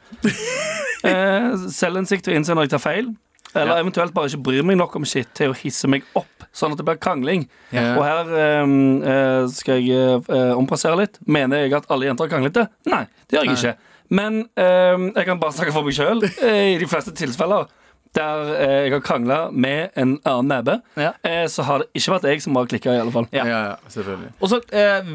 Speaker 4: Eh, Selvinnsikt og innse når jeg tar feil. Eller eventuelt bare ikke bryr meg nok om shit til å hisse meg opp, sånn at det blir krangling.
Speaker 3: Ja.
Speaker 4: Og her ehm, eh, skal jeg eh, omplassere litt. Mener jeg at alle jenter har kranglete? Nei, det gjør jeg ikke. Men ehm, jeg kan bare snakke for meg sjøl i de fleste tilfeller. Der eh, jeg har krangla med en annen næbe,
Speaker 2: Ja.
Speaker 4: eh, så har det ikke vært jeg som har klikka, i alle fall.
Speaker 3: Ja, ja, selvfølgelig.
Speaker 2: Og så eh,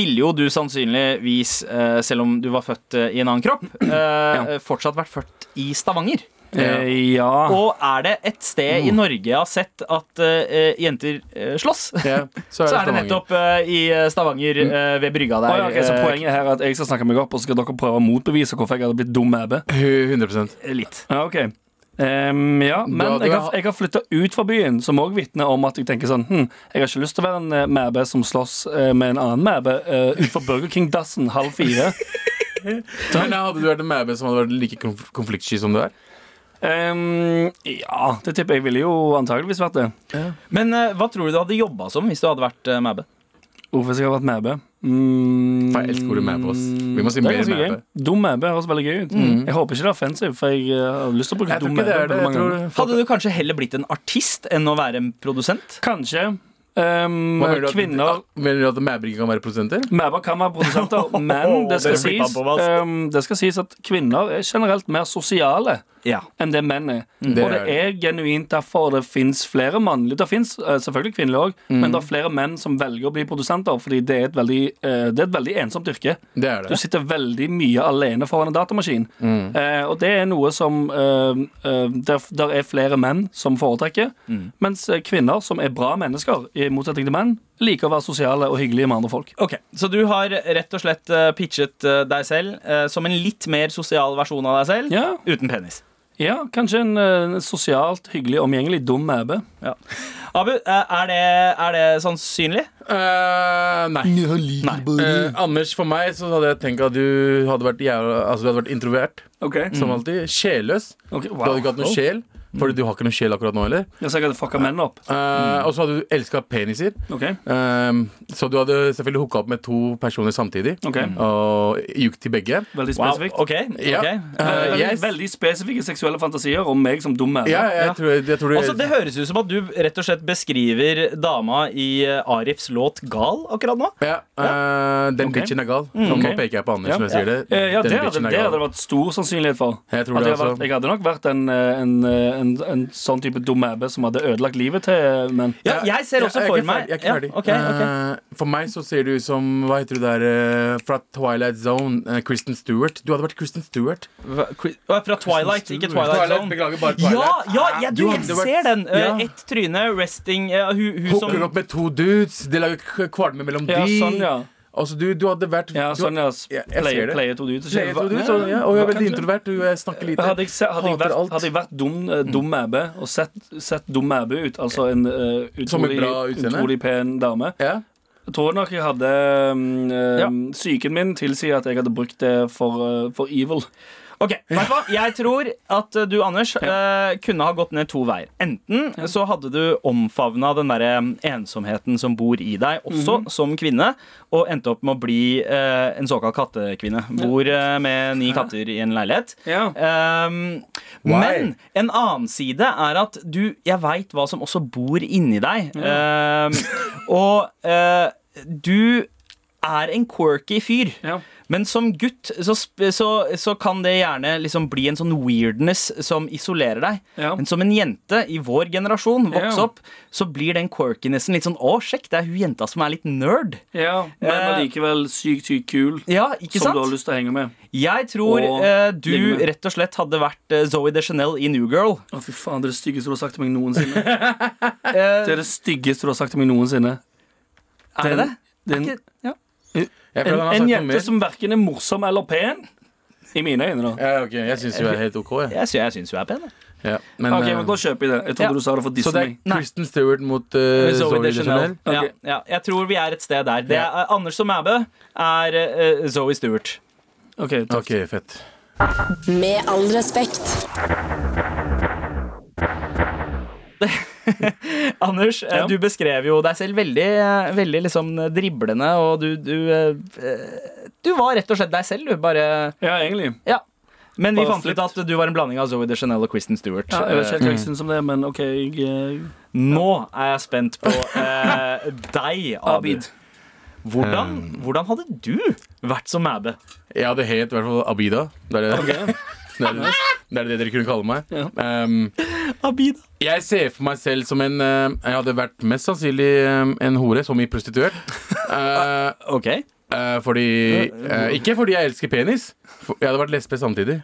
Speaker 2: ville jo du sannsynligvis, eh, selv om du var født eh, i en annen kropp, eh, fortsatt vært født i Stavanger.
Speaker 4: Eh, ja.
Speaker 2: Og er det et sted i Norge jeg har sett at eh, jenter eh, slåss,
Speaker 3: Ja.
Speaker 2: Mm. så er det
Speaker 3: Stavanger.
Speaker 2: nettopp eh, i eh, Stavanger, eh, ved brygga
Speaker 4: Å
Speaker 2: der.
Speaker 4: ja, ok, så
Speaker 2: eh,
Speaker 4: poenget her er at jeg skal snakke meg opp, og så skal dere prøve å motbevise hvorfor jeg hadde blitt dum ebbe?
Speaker 3: 100
Speaker 2: Litt.
Speaker 4: Ja, ok Ehm, ja, men
Speaker 3: Da- da-
Speaker 4: jeg har, jeg har flytta ut fra byen, som òg vitner om at jeg tenker sånn hm, Jeg har ikke lyst til å være en eh, mæbe som slåss eh, med en annen mæbe eh, utenfor Burger King-dassen halv fire.
Speaker 3: Men hadde du vært en mæbe som hadde vært like konf- konfliktsky som du er?
Speaker 4: Ehm, ja, det tipper jeg ville jo antageligvis vært det.
Speaker 2: Men eh, hva tror du du hadde jobba som hvis du hadde vært eh, mæbe?
Speaker 4: Hvorfor skal jeg ha vært mæbe? Mm,
Speaker 3: For jeg elsker ordet mæbe, ass. Vi må si
Speaker 4: det er
Speaker 3: mer
Speaker 4: ganske
Speaker 3: mæbe. Mm.
Speaker 4: gøy. Dum mæbe høres veldig gøy ut. Jeg håper ikke det er offensive, for jeg eh, har lyst til å bruke
Speaker 3: Jeg tror
Speaker 4: dum
Speaker 3: ikke det
Speaker 4: mæbe.
Speaker 3: er det.
Speaker 4: veldig
Speaker 3: Jeg
Speaker 4: mange
Speaker 3: tror
Speaker 4: ganger.
Speaker 2: Hadde du kanskje heller blitt en artist enn å være en produsent?
Speaker 4: Kanskje. Ehm,
Speaker 3: Hva mener du at-
Speaker 4: kvinner
Speaker 3: Mener du at mæber ikke kan være produsenter?
Speaker 4: Mæber kan være produsenter, men det skal,
Speaker 2: Det flipper
Speaker 4: sies,
Speaker 2: på meg, altså.
Speaker 4: ehm, det skal sies at kvinner er generelt mer sosiale
Speaker 2: Ja.
Speaker 4: enn det menn er.
Speaker 3: Mm. Det
Speaker 4: og det er genuint derfor det fins flere mannlige Det fins selvfølgelig kvinnelige òg,
Speaker 3: Mm.
Speaker 4: men det er flere menn som velger å bli produsenter, fordi det er et veldig, eh, det er et veldig ensomt yrke.
Speaker 3: Det Mm. er
Speaker 4: Du
Speaker 3: det.
Speaker 4: sitter veldig mye alene foran en datamaskin. Eh, og det er noe som eh, eh, der, der er flere menn som foretrekker.
Speaker 3: Mm.
Speaker 4: Mens eh, kvinner, som er bra mennesker, i motsetning til menn, liker å være sosiale og hyggelige med andre folk.
Speaker 2: Ok, Så du har rett og slett eh, pitchet eh, deg selv eh, som en litt mer sosial versjon av deg selv
Speaker 4: Ja.
Speaker 2: uten penis?
Speaker 4: Ja, kanskje en eh, sosialt hyggelig, omgjengelig dum æbe.
Speaker 2: Ja. Abu, eh, er det, er det sannsynlig?
Speaker 3: Eh, nei. Eh, Anders, for meg så hadde jeg tenkt at du hadde vært, jævla, altså, du hadde vært introvert.
Speaker 4: Okay.
Speaker 3: Som alltid. Sjelløs.
Speaker 4: Mm. Ok, wow.
Speaker 3: Du hadde ikke hatt noe
Speaker 4: Oh.
Speaker 3: sjel, Fordi du har ikke noe sjel akkurat nå heller.
Speaker 4: Ja, så jeg hadde fucka menn opp.
Speaker 3: Eh,
Speaker 4: Mm.
Speaker 3: Og så hadde du elska peniser.
Speaker 4: Ok,
Speaker 3: Eh, så du hadde selvfølgelig hooka opp med to personer samtidig.
Speaker 4: ok
Speaker 3: Og ljugt til begge.
Speaker 4: Veldig
Speaker 2: Wow.
Speaker 4: spesifikt.
Speaker 2: OK.
Speaker 3: Ja.
Speaker 2: ok.
Speaker 3: Eh,
Speaker 4: Veldig,
Speaker 3: yes.
Speaker 4: veldig spesifikke seksuelle fantasier om meg som dum æbe.
Speaker 3: Ja, jeg,
Speaker 2: Ja.
Speaker 3: Tror, jeg tror du
Speaker 2: Altså, det høres ut som at du rett og slett beskriver dama i eh, Arifs låt 'Gal' akkurat nå.
Speaker 3: ja, eh, Den
Speaker 4: Ok.
Speaker 3: bitchen er gal. Nå
Speaker 4: Mm, ok.
Speaker 3: nå peker jeg på Anders når jeg sier det.
Speaker 4: Eh, ja,
Speaker 3: Den
Speaker 4: det hadde,
Speaker 3: bitchen er
Speaker 4: det
Speaker 3: gal.
Speaker 4: hadde det vært stor sannsynlighet for.
Speaker 3: Jeg tror
Speaker 4: At
Speaker 3: det
Speaker 4: jeg, hadde
Speaker 3: også.
Speaker 4: vært, jeg hadde nok vært en, eh, en, eh, en, en sånn type dum æbe som hadde ødelagt livet til eh, menn.
Speaker 2: Ja, jeg ser også
Speaker 3: jeg er
Speaker 2: for
Speaker 3: ikke
Speaker 2: meg
Speaker 3: ferdig, Jeg er
Speaker 2: Ja,
Speaker 3: ikke ferdig.
Speaker 2: ok, ok.
Speaker 3: Eh, for meg så ser du ut som Hva heter du der eh, fra Twilight Zone? eh, Kristen Stewart. Du hadde vært Kristen Stewart.
Speaker 2: Hva- Chris- Å, Fra Twilight, ikke Twilight Zone.
Speaker 3: Beklager, bare
Speaker 2: Ja, ja, ja du,
Speaker 3: Du
Speaker 2: jeg
Speaker 3: hadde vært-
Speaker 2: ser den.
Speaker 3: Ja.
Speaker 2: Eh, Ett tryne, resting eh, Hun hun som
Speaker 3: Hooker opp med to dudes. De lager k- kvalme mellom
Speaker 4: Ja,
Speaker 3: de.
Speaker 4: sånn, ja.
Speaker 3: Altså, du, du hadde vært
Speaker 4: ja
Speaker 3: du-
Speaker 4: sånn, ja.
Speaker 3: Ja, jeg ser
Speaker 4: Player,
Speaker 3: det.
Speaker 4: player to dudes.
Speaker 3: Sier jeg to dudes, og- ja, og jeg er veldig introvert. Du, jeg snakker lite.
Speaker 4: Hadde jeg, se- hadde jeg
Speaker 3: Hater
Speaker 4: vært,
Speaker 3: alt.
Speaker 4: hadde jeg vært dum, eh, dum æbe og sett, sett dum æbe ut, altså en eh,
Speaker 3: Som et
Speaker 4: utrolig,
Speaker 3: bra utseende?
Speaker 4: utrolig pen dame
Speaker 3: ja.
Speaker 4: Jeg tror nok jeg hadde mm, eh,
Speaker 2: Ja.
Speaker 4: Psyken min tilsier at jeg hadde brukt det for, eh, for evil.
Speaker 2: Ok, vet du hva? Jeg tror at eh, du, Anders, eh, kunne ha gått ned to veier. Enten så hadde du omfavna den derre ensomheten som bor i deg, også
Speaker 4: Mhm.
Speaker 2: som kvinne, og endte opp med å bli eh, en såkalt kattekvinne. Bor eh, med ni katter i en leilighet.
Speaker 4: Ja.
Speaker 2: Ehm, men en annen side er at du Jeg veit hva som også bor inni deg. Ehm, og eh, du er en quirky fyr.
Speaker 4: Ja.
Speaker 2: Men som gutt så, sp- så, så kan det gjerne liksom bli en sånn weirdness som isolerer deg.
Speaker 4: Ja.
Speaker 2: Men som en jente i vår generasjon vokse
Speaker 4: Ja.
Speaker 2: opp, så blir den quirkinessen litt sånn Å, sjekk, det er hun jenta som er litt nerd.
Speaker 4: Ja, men
Speaker 2: Eh,
Speaker 4: allikevel sykt, sykt kul.
Speaker 2: Ja, ikke
Speaker 4: Som du har
Speaker 2: sant?
Speaker 4: lyst til å henge med.
Speaker 2: Jeg tror
Speaker 4: Og
Speaker 2: eh, du
Speaker 4: ligge med.
Speaker 2: rett og slett hadde vært eh, Zoe de Chanel i New Girl.
Speaker 4: Å, fy faen, det er det styggeste du har sagt til meg noensinne.
Speaker 2: Eh,
Speaker 4: Det er det styggeste du har sagt til meg noensinne.
Speaker 2: er det det? Er
Speaker 4: Det er en,
Speaker 2: ikke, ja.
Speaker 3: Jeg føler
Speaker 4: en,
Speaker 3: han har
Speaker 4: en
Speaker 3: sagt noe
Speaker 4: jente
Speaker 3: mer.
Speaker 4: som verken er morsom eller pen. I mine øyne, da.
Speaker 3: Ja, ok, Jeg syns du er helt OK, jeg.
Speaker 2: Jeg, sy jeg syns hun er pen. jeg.
Speaker 3: Ja, men,
Speaker 4: Ok,
Speaker 3: eh,
Speaker 4: men Da kjøper jeg det.
Speaker 2: Ja.
Speaker 4: Jeg trodde du sa det for å
Speaker 3: så
Speaker 4: disse
Speaker 3: det er
Speaker 4: meg.
Speaker 2: Nei.
Speaker 3: Kristen Stewart mot eh,
Speaker 2: Zoe de Chanel. Ja,
Speaker 4: Ok.
Speaker 2: ja, jeg tror vi er et sted der. Det er, Anders og Mæbø er eh, Zoe Stewart.
Speaker 4: Ok, takk.
Speaker 3: Ok, fett.
Speaker 6: Med all respekt.
Speaker 2: Anders, eh,
Speaker 4: Ja.
Speaker 2: du beskrev jo deg selv veldig, eh, veldig liksom driblende, og du, du eh, eh, Du var rett og slett deg selv, du. Bare
Speaker 4: Ja, egentlig.
Speaker 2: Ja. Men vi
Speaker 4: Bare
Speaker 2: fant ut
Speaker 4: flipt.
Speaker 2: at du var en blanding av Zoe de Chanel og Kristen Stewart.
Speaker 4: Ja, jeg vet ikke
Speaker 2: Eh,
Speaker 4: helt
Speaker 3: Mm.
Speaker 4: hva jeg syns om det, men OK. Jeg, eh,
Speaker 2: Nå er jeg spent på eh, deg, Abid.
Speaker 4: Abid.
Speaker 2: Hvordan, hvordan hadde du vært som Mæbø?
Speaker 3: Jeg hadde het i hvert fall Abida. Det er det, det, er det, det, er det dere kunne kalle meg.
Speaker 4: Ja.
Speaker 3: Ehm,
Speaker 2: Abid.
Speaker 3: jeg ser for meg selv som en eh, Jeg hadde vært mest sannsynlig eh, en hore, som i prostituert. Eh,
Speaker 2: Ok.
Speaker 3: eh, fordi eh, Ikke fordi jeg elsker penis. For, jeg hadde vært lesbe samtidig.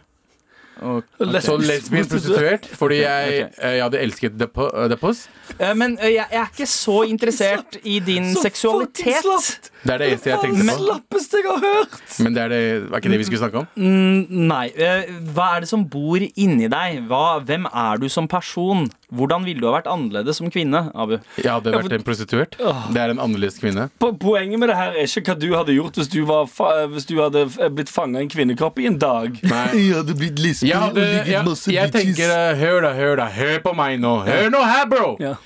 Speaker 3: Så lesbisk prostituert fordi jeg, eh, jeg hadde elsket The, Pu- eh, the Puss.
Speaker 2: Eh, men eh, jeg, jeg er ikke så interessert i din
Speaker 4: Så fucking
Speaker 2: seksualitet.
Speaker 4: slapt.
Speaker 3: Det er det eneste jeg tenkte på.
Speaker 4: slappeste jeg har hørt!
Speaker 3: Men det er det, var ikke det vi skulle snakke om.
Speaker 2: Mm, Nei. eh, Hva er det som bor inni deg? Hva, hvem er du som person? Hvordan ville du ha vært annerledes som kvinne, Abu?
Speaker 3: Jeg hadde vært en prostituert. Det er en annerledes kvinne.
Speaker 4: Po- Poenget med det her er ikke hva du hadde gjort hvis du, var fa hvis du hadde f- blitt fanga i en kvinnekropp i en dag.
Speaker 3: Nei.
Speaker 5: Jeg hadde blitt lesbisk
Speaker 3: Jeg, hadde, jeg, jeg tenker eh, Hør da, hør da, hør på meg nå. Hør nå her, bro!
Speaker 4: Ja.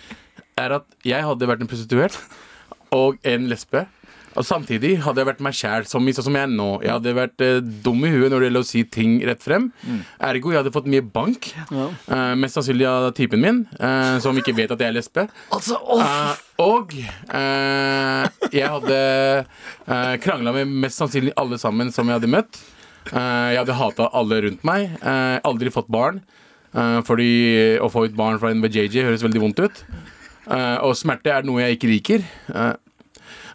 Speaker 3: Er at jeg hadde vært en prostituert og en lesbe. Og samtidig hadde jeg vært meg sjæl, som, sånn som jeg er nå. Jeg hadde vært eh, dum i huet når det gjelder å si ting rett frem. Ergo jeg hadde fått mye bank. eh, mest sannsynlig av typen min, eh, som ikke vet at jeg er lesbe. Eh, og eh, jeg hadde uh, krangla med mest sannsynlig alle sammen som jeg hadde møtt. Eh, jeg hadde hata alle rundt meg. Eh, aldri fått barn. Eh, fordi å få ut barn fra en VJJ høres veldig vondt ut. Eh, og smerte er noe jeg ikke liker. Eh,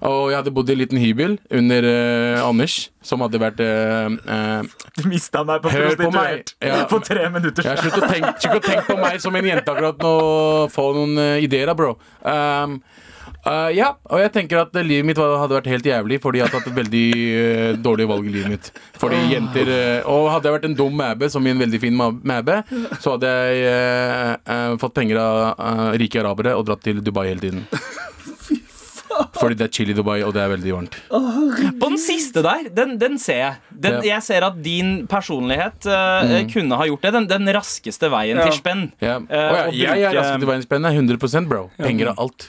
Speaker 3: og jeg hadde bodd i en liten hybel under eh, Anders, som hadde vært eh, eh,
Speaker 2: Du mista meg på
Speaker 3: Hør på meg. Ja. For
Speaker 2: tre minutter
Speaker 3: jeg har sluttet å tenke, slutt å tenke på meg som en jente akkurat nå. Få noen eh, ideer, da, bro. Um, Eh, ja, og jeg tenker at eh, livet mitt var- hadde vært helt jævlig fordi jeg har tatt et veldig eh, dårlig valg i livet mitt. Fordi jenter eh, Og hadde jeg vært en dum mæbe, som i en veldig fin ma- mæbe, så hadde jeg eh, eh, fått penger av eh, rike arabere og dratt til Dubai hele tiden. Fordi det er chill i Dubai, og det er veldig varmt.
Speaker 2: På den siste der, den, den ser jeg. Den,
Speaker 3: Ja. Mm.
Speaker 2: Jeg ser at din personlighet eh, kunne ha gjort det. Den, den raskeste veien
Speaker 4: Ja.
Speaker 2: til spenn.
Speaker 3: Ja.
Speaker 2: Eh,
Speaker 3: Å ja,
Speaker 2: og
Speaker 3: jeg er
Speaker 2: bruke-
Speaker 3: raskere til verdensspennet. 100 bro. Penger er alt.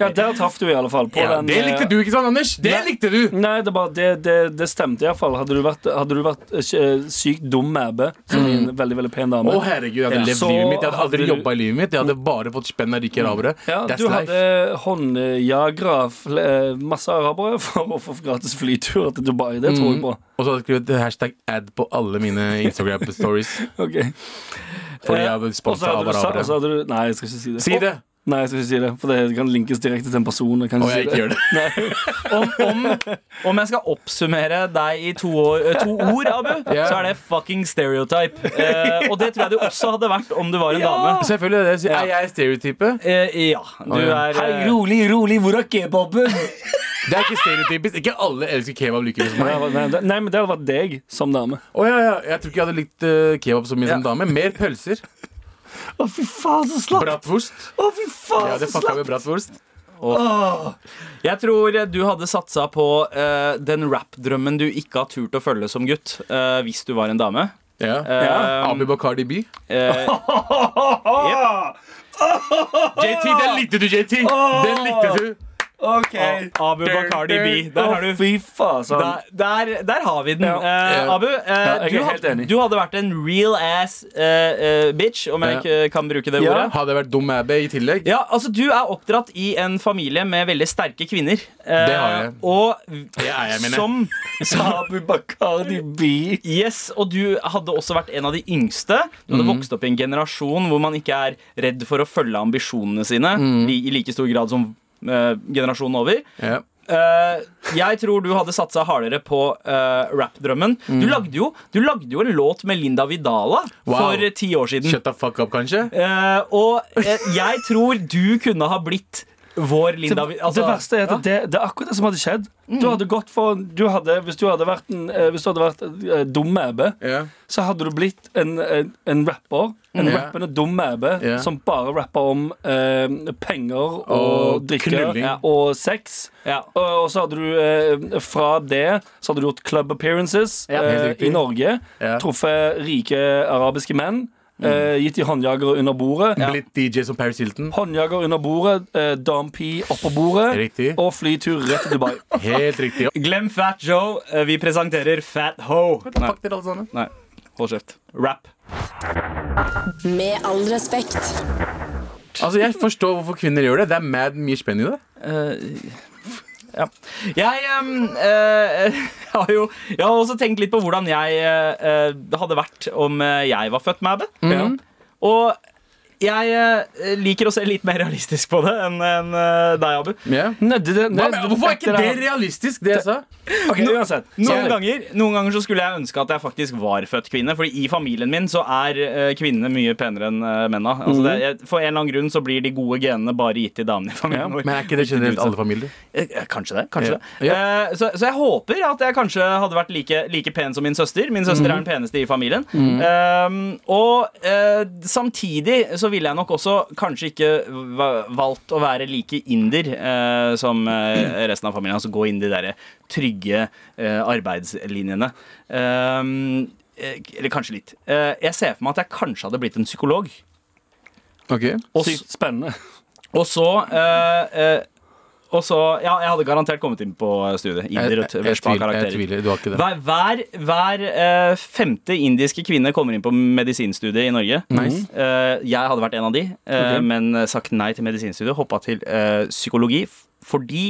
Speaker 4: Ja, der traff du i alle fall. På
Speaker 3: Ja,
Speaker 4: den,
Speaker 3: det likte
Speaker 4: eh,
Speaker 3: du, ikke sant, Anders? Det
Speaker 4: Nei.
Speaker 3: likte du!
Speaker 4: Nei, det, bare, det, det, det stemte iallfall. Hadde du vært, hadde du vært eh, sykt dum mæbe, som en veldig veldig pen
Speaker 3: Mm. Å
Speaker 4: dame
Speaker 3: herregud, jeg hadde
Speaker 4: Ja.
Speaker 3: levd
Speaker 4: Så
Speaker 3: livet mitt. Jeg hadde aldri
Speaker 4: hadde du-
Speaker 3: jobba i livet mitt. Jeg hadde bare fått spenn av rike arabere.
Speaker 4: ja,
Speaker 3: That's
Speaker 4: Du
Speaker 3: life.
Speaker 4: hadde håndjagra fl- eh, masse arabere for å få gratis flyturer til Dubai. Det tror jeg på.
Speaker 3: Og så hadde jeg skrevet hashtag ad på alle mine Instagram-stories.
Speaker 4: Ok.
Speaker 3: Fordi jeg
Speaker 4: Eh,
Speaker 3: hadde
Speaker 4: Og så
Speaker 3: sponsa
Speaker 4: hadde
Speaker 3: av
Speaker 4: du sa- og så
Speaker 3: arabere.
Speaker 4: hadde du- Nei, jeg skal ikke si det.
Speaker 3: Si det!
Speaker 4: Nei, jeg skal ikke si det, for det kan linkes direkte til en person. Jeg kan
Speaker 3: Og
Speaker 4: ikke
Speaker 3: jeg ikke
Speaker 4: si det.
Speaker 3: gjør det.
Speaker 2: Om, om, om jeg skal oppsummere deg i to, år, eh, to ord, Abu,
Speaker 3: Ja.
Speaker 2: så er det fucking stereotype. Eh, og det tror jeg det også hadde vært om du var en dame.
Speaker 3: Selvfølgelig. Det. er- Er jeg stereotype?
Speaker 2: Eh, ja, du
Speaker 3: Å, ja.
Speaker 2: er eh,
Speaker 4: Hei, rolig, rolig, hvor er kebaben?
Speaker 3: Det er ikke stereotypisk. Ikke alle elsker kebab like mye som meg.
Speaker 4: Nei, nei, det- nei, men det hadde vært deg som dame.
Speaker 3: Å ja, ja. Jeg tror ikke jeg hadde likt eh, kebab så mye som dame. Mer pølser.
Speaker 4: Å, fy faen, så slapp!
Speaker 3: Bratwurst.
Speaker 4: Å, fy
Speaker 3: Jeg
Speaker 4: faen,
Speaker 3: hadde
Speaker 4: så slapp!
Speaker 3: fucka med bratwurst.
Speaker 2: Jeg tror eh, du hadde satsa på eh, den rap-drømmen du ikke har turt å følge som gutt, eh, hvis du var en dame.
Speaker 3: Ja.
Speaker 2: Eh,
Speaker 3: Abi Bakardi By.
Speaker 2: eh,
Speaker 3: JT, den likte du, JT! Den likte du.
Speaker 4: Ok.
Speaker 2: Abu Bakardi B. Eh, Der har
Speaker 4: Å,
Speaker 2: du
Speaker 4: fy faen, sånn.
Speaker 2: der, der, der har vi den.
Speaker 4: Ja.
Speaker 2: Eh,
Speaker 3: Ja.
Speaker 2: Abu, eh,
Speaker 4: jeg er
Speaker 2: du,
Speaker 4: helt
Speaker 2: had,
Speaker 4: enig.
Speaker 2: du hadde vært en real ass eh, eh, bitch, om jeg
Speaker 3: Ja.
Speaker 2: ikke kan bruke det
Speaker 4: Ja.
Speaker 2: ordet.
Speaker 3: Hadde jeg vært dum abbe i tillegg?
Speaker 2: Ja, altså Du er oppdratt i en familie med veldig sterke kvinner. Eh,
Speaker 3: Det har jeg.
Speaker 2: Og
Speaker 3: er jeg, mener jeg.
Speaker 2: som
Speaker 4: Abu Bakardi B.
Speaker 2: Yes, og du hadde også vært en av de yngste. Du
Speaker 4: Mhm.
Speaker 2: hadde vokst opp i en generasjon hvor man ikke er redd for å følge ambisjonene sine
Speaker 4: Mhm.
Speaker 2: li, i like stor grad som eh, generasjonen over.
Speaker 3: Ja.
Speaker 2: Eh, jeg tror du hadde satsa hardere på uh, rap-drømmen. Du,
Speaker 4: Mhm.
Speaker 2: lagde jo- du lagde jo en låt med Linda Vidala
Speaker 3: Wow.
Speaker 2: for eh, ti år siden.
Speaker 3: Shut the fuck up, kanskje?
Speaker 2: Eh, og eh, jeg tror du kunne ha blitt vår Linda Vi- altså-
Speaker 4: det verste er at det, det er akkurat det som hadde skjedd. Du hadde gått for du hadde, Hvis du hadde vært en, eh, hvis du hadde vært eh, dum mæbe,
Speaker 3: Ja.
Speaker 4: så hadde du blitt en, en, en rapper. En
Speaker 3: Ja.
Speaker 4: rappende dum mæbe
Speaker 3: Ja.
Speaker 4: som bare rapper om eh, penger og,
Speaker 3: Og
Speaker 4: drikke
Speaker 3: knulling.
Speaker 4: ja, og sex.
Speaker 2: Ja.
Speaker 4: Og, og så hadde du eh, fra det Så hadde du gjort club appearances
Speaker 2: Ja.
Speaker 4: eh,
Speaker 3: Helt riktig.
Speaker 4: i Norge.
Speaker 3: Ja. Mm.
Speaker 4: Truffet rike arabiske menn. Eh, gitt de håndjagere under bordet.
Speaker 3: Blitt DJ som Paris Hilton.
Speaker 4: Håndjager under bordet, eh, Dam P oppå bordet
Speaker 3: Riktig.
Speaker 4: og flytur rett til Dubai.
Speaker 3: Helt riktig.
Speaker 2: Glem Fat Joe. Eh, vi presenterer Fat Ho. Nei,
Speaker 3: Fuck dere alle sammen.
Speaker 2: nei. hold kjeft. Rap.
Speaker 6: Med all respekt.
Speaker 3: Altså, Jeg forstår hvorfor kvinner gjør det. Det er mad mye spenn i det.
Speaker 2: ja. Jeg em, eh, har jo Jeg har også tenkt litt på hvordan jeg eh, eh, hadde vært om eh, jeg var født med Abbe. Ja. Og jeg eh, liker å se litt mer realistisk på det enn enn, eh, deg, Abu.
Speaker 4: Nei, det, det,
Speaker 3: Hva,
Speaker 4: nei,
Speaker 3: men, hvorfor er ikke det realistisk, det jeg sa?
Speaker 4: Ok, uansett.
Speaker 2: Noen
Speaker 4: Sorry.
Speaker 2: ganger, noen ganger så skulle jeg ønske at jeg faktisk var født kvinne. Fordi i familien min så er eh, kvinnene mye penere enn eh, mennene. Altså det, jeg, for en eller annen grunn så blir de gode genene bare gitt til damene i familien vår.
Speaker 3: Men er ikke det generelt alle familier?
Speaker 2: Eh, eh, Kanskje det. kanskje
Speaker 3: Ja.
Speaker 2: det Eh, så, så jeg håper at jeg kanskje hadde vært like, like pen som min søster. Min søster
Speaker 3: Mm.
Speaker 2: er den peneste i familien. Eh, og eh, samtidig så ville jeg nok også kanskje ikke va- valgt å være like inder eh, som eh, resten av familien. Altså gå inn de derre trygge eh, arbeidslinjene. Eh, eh, eller kanskje litt. Eh, jeg ser for meg at jeg kanskje hadde blitt en psykolog.
Speaker 3: Ok
Speaker 2: Og s-
Speaker 4: Sykt spennende.
Speaker 2: og så eh, eh, Og så Ja, jeg hadde garantert kommet inn på studiet.
Speaker 3: Jeg,
Speaker 2: Inder,
Speaker 3: jeg,
Speaker 2: rødt,
Speaker 3: jeg,
Speaker 2: verspa
Speaker 3: tviler, jeg
Speaker 2: karakterer.
Speaker 3: tviler. Du har ikke det.
Speaker 2: Hver, hver, hver eh, femte indiske kvinne kommer inn på medisinstudiet i Norge.
Speaker 3: Nice.
Speaker 2: Eh, jeg hadde vært en av de, eh, men sagt nei til medisinstudiet. Hoppa til eh, psykologi. f- Fordi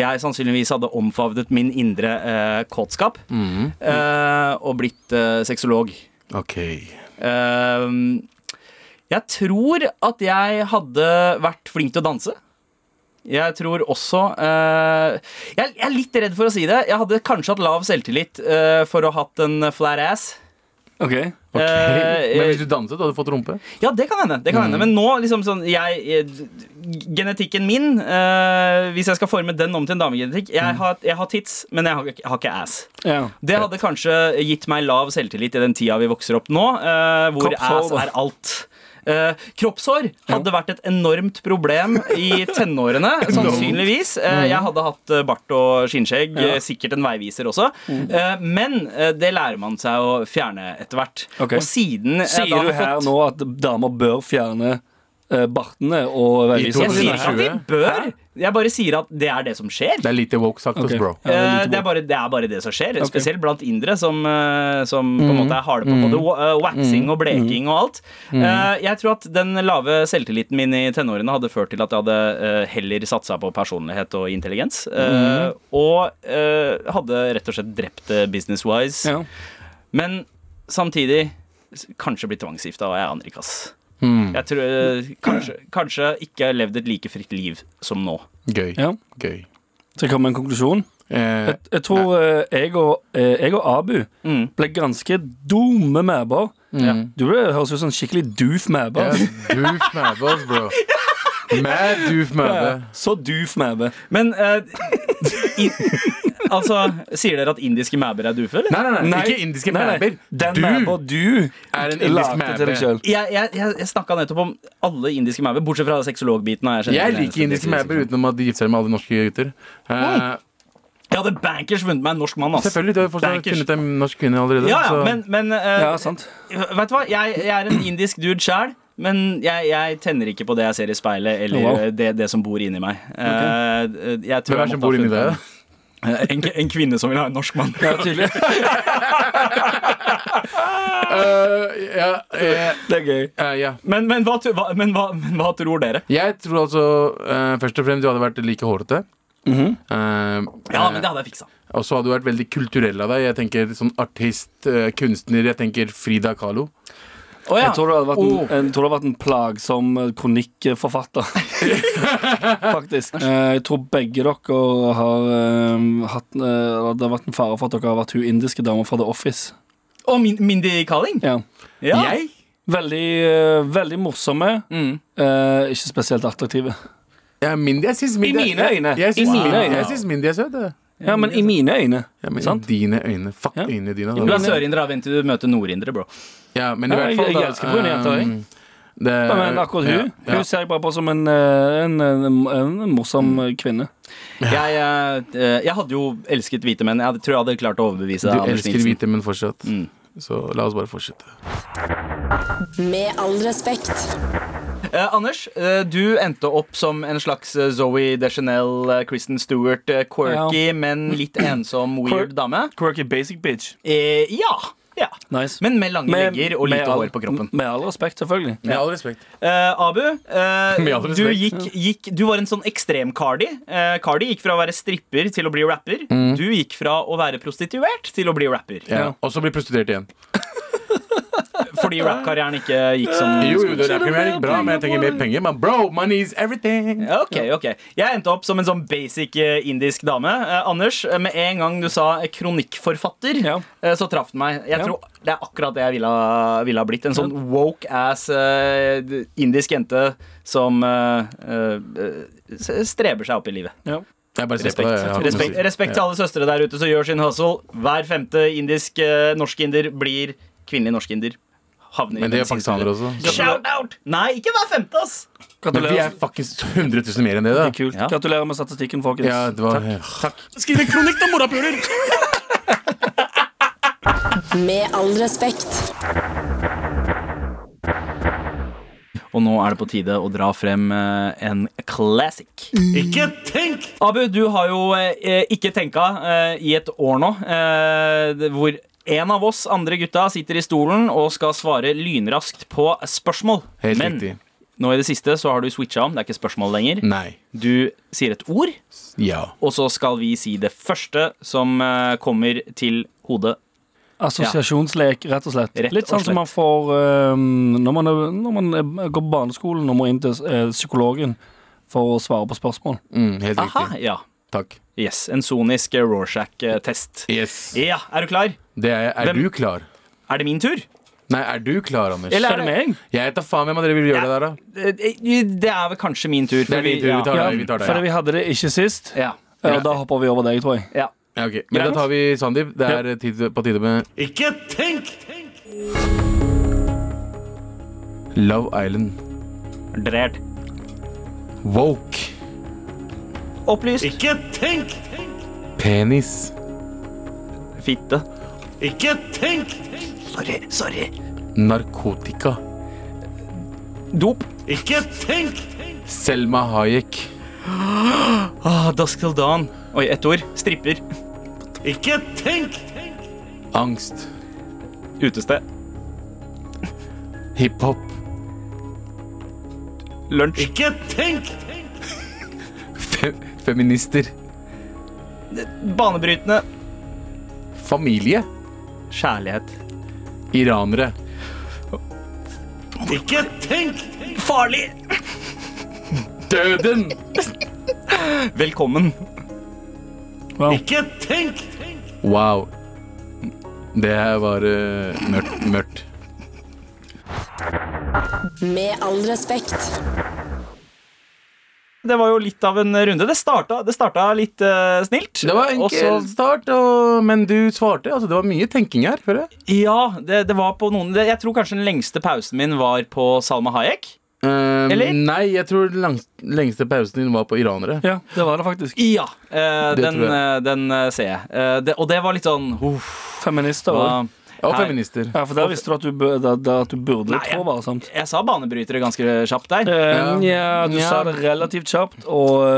Speaker 2: jeg sannsynligvis hadde omfavnet min indre eh, kåtskap
Speaker 3: Mhm.
Speaker 2: eh, og blitt eh, sexolog.
Speaker 3: Ok
Speaker 2: Ehm, jeg tror at jeg hadde vært flink til å danse. Jeg tror også eh, jeg, jeg er litt redd for å si det. Jeg hadde kanskje hatt lav selvtillit eh, for å ha hatt en flat ass.
Speaker 4: Ok
Speaker 3: Ok,
Speaker 2: Eh,
Speaker 3: Men hvis du Mm. danset, hadde du fått rumpe?
Speaker 2: Ja, det kan hende. Det kan hende. Men nå, liksom sånn jeg, jeg- Genetikken min, eh, hvis jeg skal forme den om til en damegenetikk
Speaker 3: Mm.
Speaker 2: Jeg har, jeg har tits, men jeg har, ikke- jeg har ikke ass.
Speaker 4: Ja.
Speaker 2: Det hadde kanskje gitt meg lav selvtillit i den tida vi vokser opp nå, eh, hvor
Speaker 4: Kroppshår,
Speaker 2: ass
Speaker 4: da.
Speaker 2: er alt. Eh, kroppshår hadde vært et enormt problem i tenårene, sannsynligvis.
Speaker 4: Mm.
Speaker 2: Eh, jeg hadde hatt eh, bart og skinnskjegg, eh, sikkert en veiviser også.
Speaker 4: Mm.
Speaker 2: Eh, men eh, det lærer man seg å fjerne etter hvert.
Speaker 4: Ok.
Speaker 2: Og siden jeg da
Speaker 4: Sier
Speaker 2: har
Speaker 4: du her
Speaker 2: fått-
Speaker 4: nå at damer bør fjerne eh, bartene og
Speaker 2: Jeg sier
Speaker 4: veivisene?
Speaker 2: ikke at de bør. Jeg bare sier at det er det som skjer.
Speaker 3: Det er lite woke sagt oss,
Speaker 4: Ok.
Speaker 3: bro.
Speaker 4: Ja, det er
Speaker 2: Eh,
Speaker 4: lite
Speaker 2: det, er bare, det er bare det som skjer, spesielt blant indere, som, eh, som på en
Speaker 4: Mm.
Speaker 2: måte er harde på både wa- eh, waxing og bleking og alt. Eh, Jeg tror at den lave selvtilliten min i tenårene hadde ført til at jeg hadde eh, heller satsa på personlighet og intelligens. eh,
Speaker 4: Mm.
Speaker 2: Og eh, hadde rett og slett drept det business-wise.
Speaker 4: Ja.
Speaker 2: Men samtidig s- kanskje blitt tvangsgifta, og jeg aner ikke, ass.
Speaker 3: Mhm.
Speaker 2: Jeg tror eh, kanskje, kanskje ikke levd et like fritt liv som nå.
Speaker 3: Gøy.
Speaker 4: Ja.
Speaker 3: Gøy.
Speaker 4: Så jeg kommer med en konklusjon.
Speaker 3: Eh,
Speaker 4: Jeg, jeg tror eh, jeg og, eh, jeg og Abu
Speaker 2: Mm.
Speaker 4: ble ganske dumme mæber.
Speaker 2: Ja.
Speaker 4: Du ble, høres ut som en skikkelig doof mæbe.
Speaker 3: mhm. ja, doof mæbe, ass, bro. Mad doof mæbe.
Speaker 4: Eh, Så doof mæbe.
Speaker 2: Men eh, i, Altså, sier dere at indiske mæber er dufe, eller?
Speaker 3: Nei, nei, nei, ikke indiske
Speaker 4: nei, nei.
Speaker 3: mæber.
Speaker 4: Den
Speaker 3: Du
Speaker 4: mæber du
Speaker 3: er en indisk
Speaker 4: lagde
Speaker 3: mæbe.
Speaker 4: til deg selv.
Speaker 2: Jeg, jeg, jeg, jeg snakka nettopp om alle indiske mæber, bortsett fra sexologbiten. og kjenner
Speaker 3: Jeg
Speaker 2: ikke den eneste
Speaker 3: liker indiske
Speaker 2: indiske
Speaker 3: mæber utenom at de gifter seg med alle de norske gutter. Eh,
Speaker 2: Jeg hadde bankers vunnet meg en norsk mann, ass.
Speaker 3: selvfølgelig, Altså- du har jo fortsatt
Speaker 2: Bankers.
Speaker 3: funnet en norsk kvinne allerede.
Speaker 2: Ja, ja,
Speaker 3: så-
Speaker 2: men, men eh,
Speaker 4: Ja, sant.
Speaker 2: Vet du hva, jeg, jeg er en indisk dude sjæl. Men jeg, jeg tenner ikke på det jeg ser i speilet, eller
Speaker 4: Wow.
Speaker 2: eh, det, det som bor inni meg. Eh, jeg tror
Speaker 3: Oh,
Speaker 2: jeg
Speaker 3: Hvem er det som
Speaker 2: måtte ha
Speaker 3: bor inni
Speaker 2: funnet
Speaker 3: deg?
Speaker 2: En, en, en kvinne som vil ha en norsk mann.
Speaker 4: Ja, tydelig.
Speaker 3: Eh, ja, eh,
Speaker 4: Det er gøy.
Speaker 3: eh, ja.
Speaker 2: Men, men, hva, tro- hva, men, hva, men hva tror dere?
Speaker 3: Jeg tror altså eh, Først og fremst du hadde vært like hårete.
Speaker 4: Mhm.
Speaker 3: Eh,
Speaker 2: Ja, men det hadde jeg fiksa.
Speaker 3: eh, Og så hadde du vært veldig kulturell av deg. Jeg tenker sånn artist, eh, kunstner. Jeg tenker Frida Kahlo.
Speaker 2: Å ja.
Speaker 4: Jeg tror det hadde vært en,
Speaker 3: Oh.
Speaker 4: en, tror det hadde vært en plagsom eh, kronikkforfatter. Faktisk. Eh, Jeg tror begge dere har eh, hatt eh, eller Det har vært en fare for at dere har vært hun indiske dama fra The Office.
Speaker 2: Og min, Mindy Kaling?
Speaker 4: Ja.
Speaker 2: Ja.
Speaker 3: Jeg?
Speaker 4: Veldig, eh, veldig morsomme,
Speaker 2: Mm.
Speaker 4: eh, ikke spesielt attraktive.
Speaker 3: Ja, Mindy, jeg syns Mindy
Speaker 4: mine øyne.
Speaker 3: Jeg syns
Speaker 4: I mine
Speaker 3: Mindy,
Speaker 4: øyne.
Speaker 3: jeg syns Mindy er søt. jeg.
Speaker 4: Ja, men i mine øyne.
Speaker 3: Ja, men
Speaker 4: Sant.
Speaker 3: dine øyne. Fuck
Speaker 4: Ja.
Speaker 3: øynene dine.
Speaker 2: Du
Speaker 3: Da.
Speaker 2: er sørindre, da. vent til du møter nordindere, bro.
Speaker 3: Ja, men i
Speaker 4: Ja,
Speaker 3: hvert
Speaker 4: jeg-
Speaker 3: fall da,
Speaker 4: jeg elsker brune jenter, jeg.
Speaker 3: ehm, det,
Speaker 4: Men akkurat hun
Speaker 3: ja, ja.
Speaker 4: Hun ser jeg bare på som en, eh, en, en, en morsom eh, kvinne.
Speaker 2: Jeg, eh, eh, jeg hadde jo elsket hvite menn. Jeg hadde- tror jeg hadde klart å overbevise deg.
Speaker 3: Du
Speaker 2: Anders
Speaker 3: elsker
Speaker 2: Nilsen.
Speaker 3: hvite menn fortsatt.
Speaker 2: Mm.
Speaker 3: Så la oss bare fortsette.
Speaker 6: Med all respekt.
Speaker 2: Eh, Anders, eh, du endte opp som en slags eh, Zoe Deschanel, eh, Kristen Stewart, eh, quirky, men litt ensom, weird
Speaker 4: Quir-
Speaker 2: dame.
Speaker 4: Quirky basic bitch.
Speaker 2: Eh, ja. ja.
Speaker 4: Nice.
Speaker 2: Men med lange
Speaker 4: Med-
Speaker 2: legger og
Speaker 4: med
Speaker 2: lite
Speaker 4: all-
Speaker 2: hår på kroppen.
Speaker 4: Med all respekt, selvfølgelig.
Speaker 3: Med all respekt.
Speaker 2: Eh, Abu, eh,
Speaker 3: Med all respekt.
Speaker 2: du, gikk, gikk, du var en sånn ekstrem Cardi. Eh, Cardi gikk fra å være stripper til å bli rapper.
Speaker 3: Mm.
Speaker 2: Du gikk fra å være prostituert til å bli rapper.
Speaker 3: Ja. Og så blir prostituert igjen.
Speaker 2: Fordi rappkarrieren ikke gikk som
Speaker 3: Jo, jo, det er premiere bra, men jeg trenger mer penger. Men bro, money is everything.
Speaker 2: Ok, ok Jeg endte opp som en sånn basic eh, indisk dame. Eh, Anders, eh, med en gang du sa eh, kronikkforfatter,
Speaker 4: Ja.
Speaker 2: eh, så traff den meg. Jeg
Speaker 4: Ja.
Speaker 2: tror Det er akkurat det jeg ville ha, ville ha blitt. En sånn woke-ass eh, d- indisk jente som eh, eh, s- streber seg opp i livet.
Speaker 4: Ja.
Speaker 3: Jeg bare ser på deg. jeg
Speaker 2: Respekt,
Speaker 3: har ikke noe å si.
Speaker 2: respekt, respekt til alle søstre der ute som gjør sin hustle. Hver femte indisk eh, norskinder blir kvinnelig norskinder. Havner i
Speaker 3: Men det
Speaker 2: den
Speaker 3: er
Speaker 2: siste
Speaker 3: pakistanere
Speaker 2: runden.
Speaker 3: også.
Speaker 2: Shout out! Nei, ikke hver femte, ass!
Speaker 3: Men vi er
Speaker 2: altså.
Speaker 4: Gratulerer.
Speaker 3: fuckings 100 000 mer enn det, da.
Speaker 4: Det er kult.
Speaker 2: Ja.
Speaker 4: Gratulerer med statistikken, folkens.
Speaker 3: Ja, det var
Speaker 5: Skriv en kronikk, da, morapuler!
Speaker 6: Med all respekt.
Speaker 2: Og nå er det på tide å dra frem eh, en classic.
Speaker 5: Ikke tenk!
Speaker 2: Abu, du har jo eh, ikke tenka eh, i et år nå, eh, det- hvor en av oss andre gutta sitter i stolen og skal svare lynraskt på spørsmål.
Speaker 3: Helt
Speaker 2: Men
Speaker 3: riktig. Mm.
Speaker 2: nå i det siste så har du switcha om. Det er ikke spørsmål lenger.
Speaker 3: Nei.
Speaker 2: Du sier et ord,
Speaker 3: Ja.
Speaker 2: og så skal vi si det første som eh, kommer til hodet.
Speaker 4: Assosiasjonslek, rett og slett.
Speaker 2: Rett
Speaker 4: Litt sånn
Speaker 2: og
Speaker 4: som man får eh, når, man, er- når man er- går på barneskolen og må inn til eh, psykologen for å svare på spørsmål.
Speaker 3: Mm, helt
Speaker 2: Aha,
Speaker 3: riktig.
Speaker 2: ja.
Speaker 3: Takk.
Speaker 2: Yes, En sonisk Rorschach-test.
Speaker 3: Yes.
Speaker 4: E-
Speaker 2: Ja, er du klar?
Speaker 3: Det er, er
Speaker 2: Hvem-
Speaker 3: du klar?
Speaker 2: Er det min tur?
Speaker 3: Nei, er du klar, Anders?
Speaker 2: Eller-
Speaker 4: Er det meg?
Speaker 3: Jeg tar faen hvem av dere vil gjøre det der, da.
Speaker 2: Eh, eh, Det er vel kanskje min tur.
Speaker 3: Det
Speaker 2: for
Speaker 3: er din tur. Vi tar
Speaker 2: ja.
Speaker 3: deg. Vi tar
Speaker 4: Fordi
Speaker 3: deg.
Speaker 4: vi hadde det ikke sist.
Speaker 2: Ja.
Speaker 4: Ja, og da hopper vi over deg, tror jeg.
Speaker 2: ja.
Speaker 3: Ja, ok. Men da
Speaker 2: Greit.
Speaker 3: tar vi Sandeep. Det er tid, på tide med
Speaker 1: Ikke tenk!
Speaker 3: Love Island.
Speaker 2: Drert.
Speaker 3: Woke.
Speaker 2: Opplyst.
Speaker 1: Ikke tenk!
Speaker 3: Penis.
Speaker 2: Fitte.
Speaker 1: Ikke tenk!
Speaker 2: Sorry. Sorry.
Speaker 3: Narkotika.
Speaker 2: Dop.
Speaker 1: Ikke tenk!
Speaker 3: Selma Hayek.
Speaker 2: Ah, Dusk til dawn. Oi, ett ord. Stripper.
Speaker 1: Ikke tenk!
Speaker 3: Angst.
Speaker 2: Utested.
Speaker 3: Hiphop.
Speaker 2: Lunsj.
Speaker 1: Ikke tenk!
Speaker 3: Fe feminister.
Speaker 2: Banebrytende.
Speaker 3: Familie.
Speaker 2: Kjærlighet.
Speaker 3: Iranere.
Speaker 1: Ikke tenk!
Speaker 2: Farlig!
Speaker 3: Døden!
Speaker 2: Velkommen.
Speaker 1: Ikke tenk!
Speaker 3: Wow. Det her var eh, mørkt. mørkt.
Speaker 6: Med all respekt.
Speaker 2: Det var jo litt av en runde. Det starta, det starta litt eh, snilt.
Speaker 3: Det var
Speaker 2: Og så-
Speaker 3: enkel start, og, men du svarte. Altså, det var mye tenking her. Føler jeg.
Speaker 2: Ja, det, det var på noen det, Jeg tror kanskje den lengste pausen min var på Salma Hayek.
Speaker 3: Eh,
Speaker 2: Eller?
Speaker 3: Nei, jeg tror den langs- lengste pausen din var på iranere.
Speaker 4: Ja, det var det faktisk.
Speaker 2: Ja, eh,
Speaker 3: Det
Speaker 2: den,
Speaker 3: tror jeg.
Speaker 2: eh, den eh, ser jeg. Eh, det, og det var litt sånn uff,
Speaker 4: Feminister òg.
Speaker 2: hva-
Speaker 3: Og
Speaker 2: Her.
Speaker 3: feminister.
Speaker 4: Ja, for der visste du at du, bø- da, da, at du burde
Speaker 2: Nei,
Speaker 4: trå, bare sant.
Speaker 2: Jeg sa banebrytere ganske kjapt der.
Speaker 4: Eh, ja, du
Speaker 3: Ja.
Speaker 4: sa det relativt kjapt og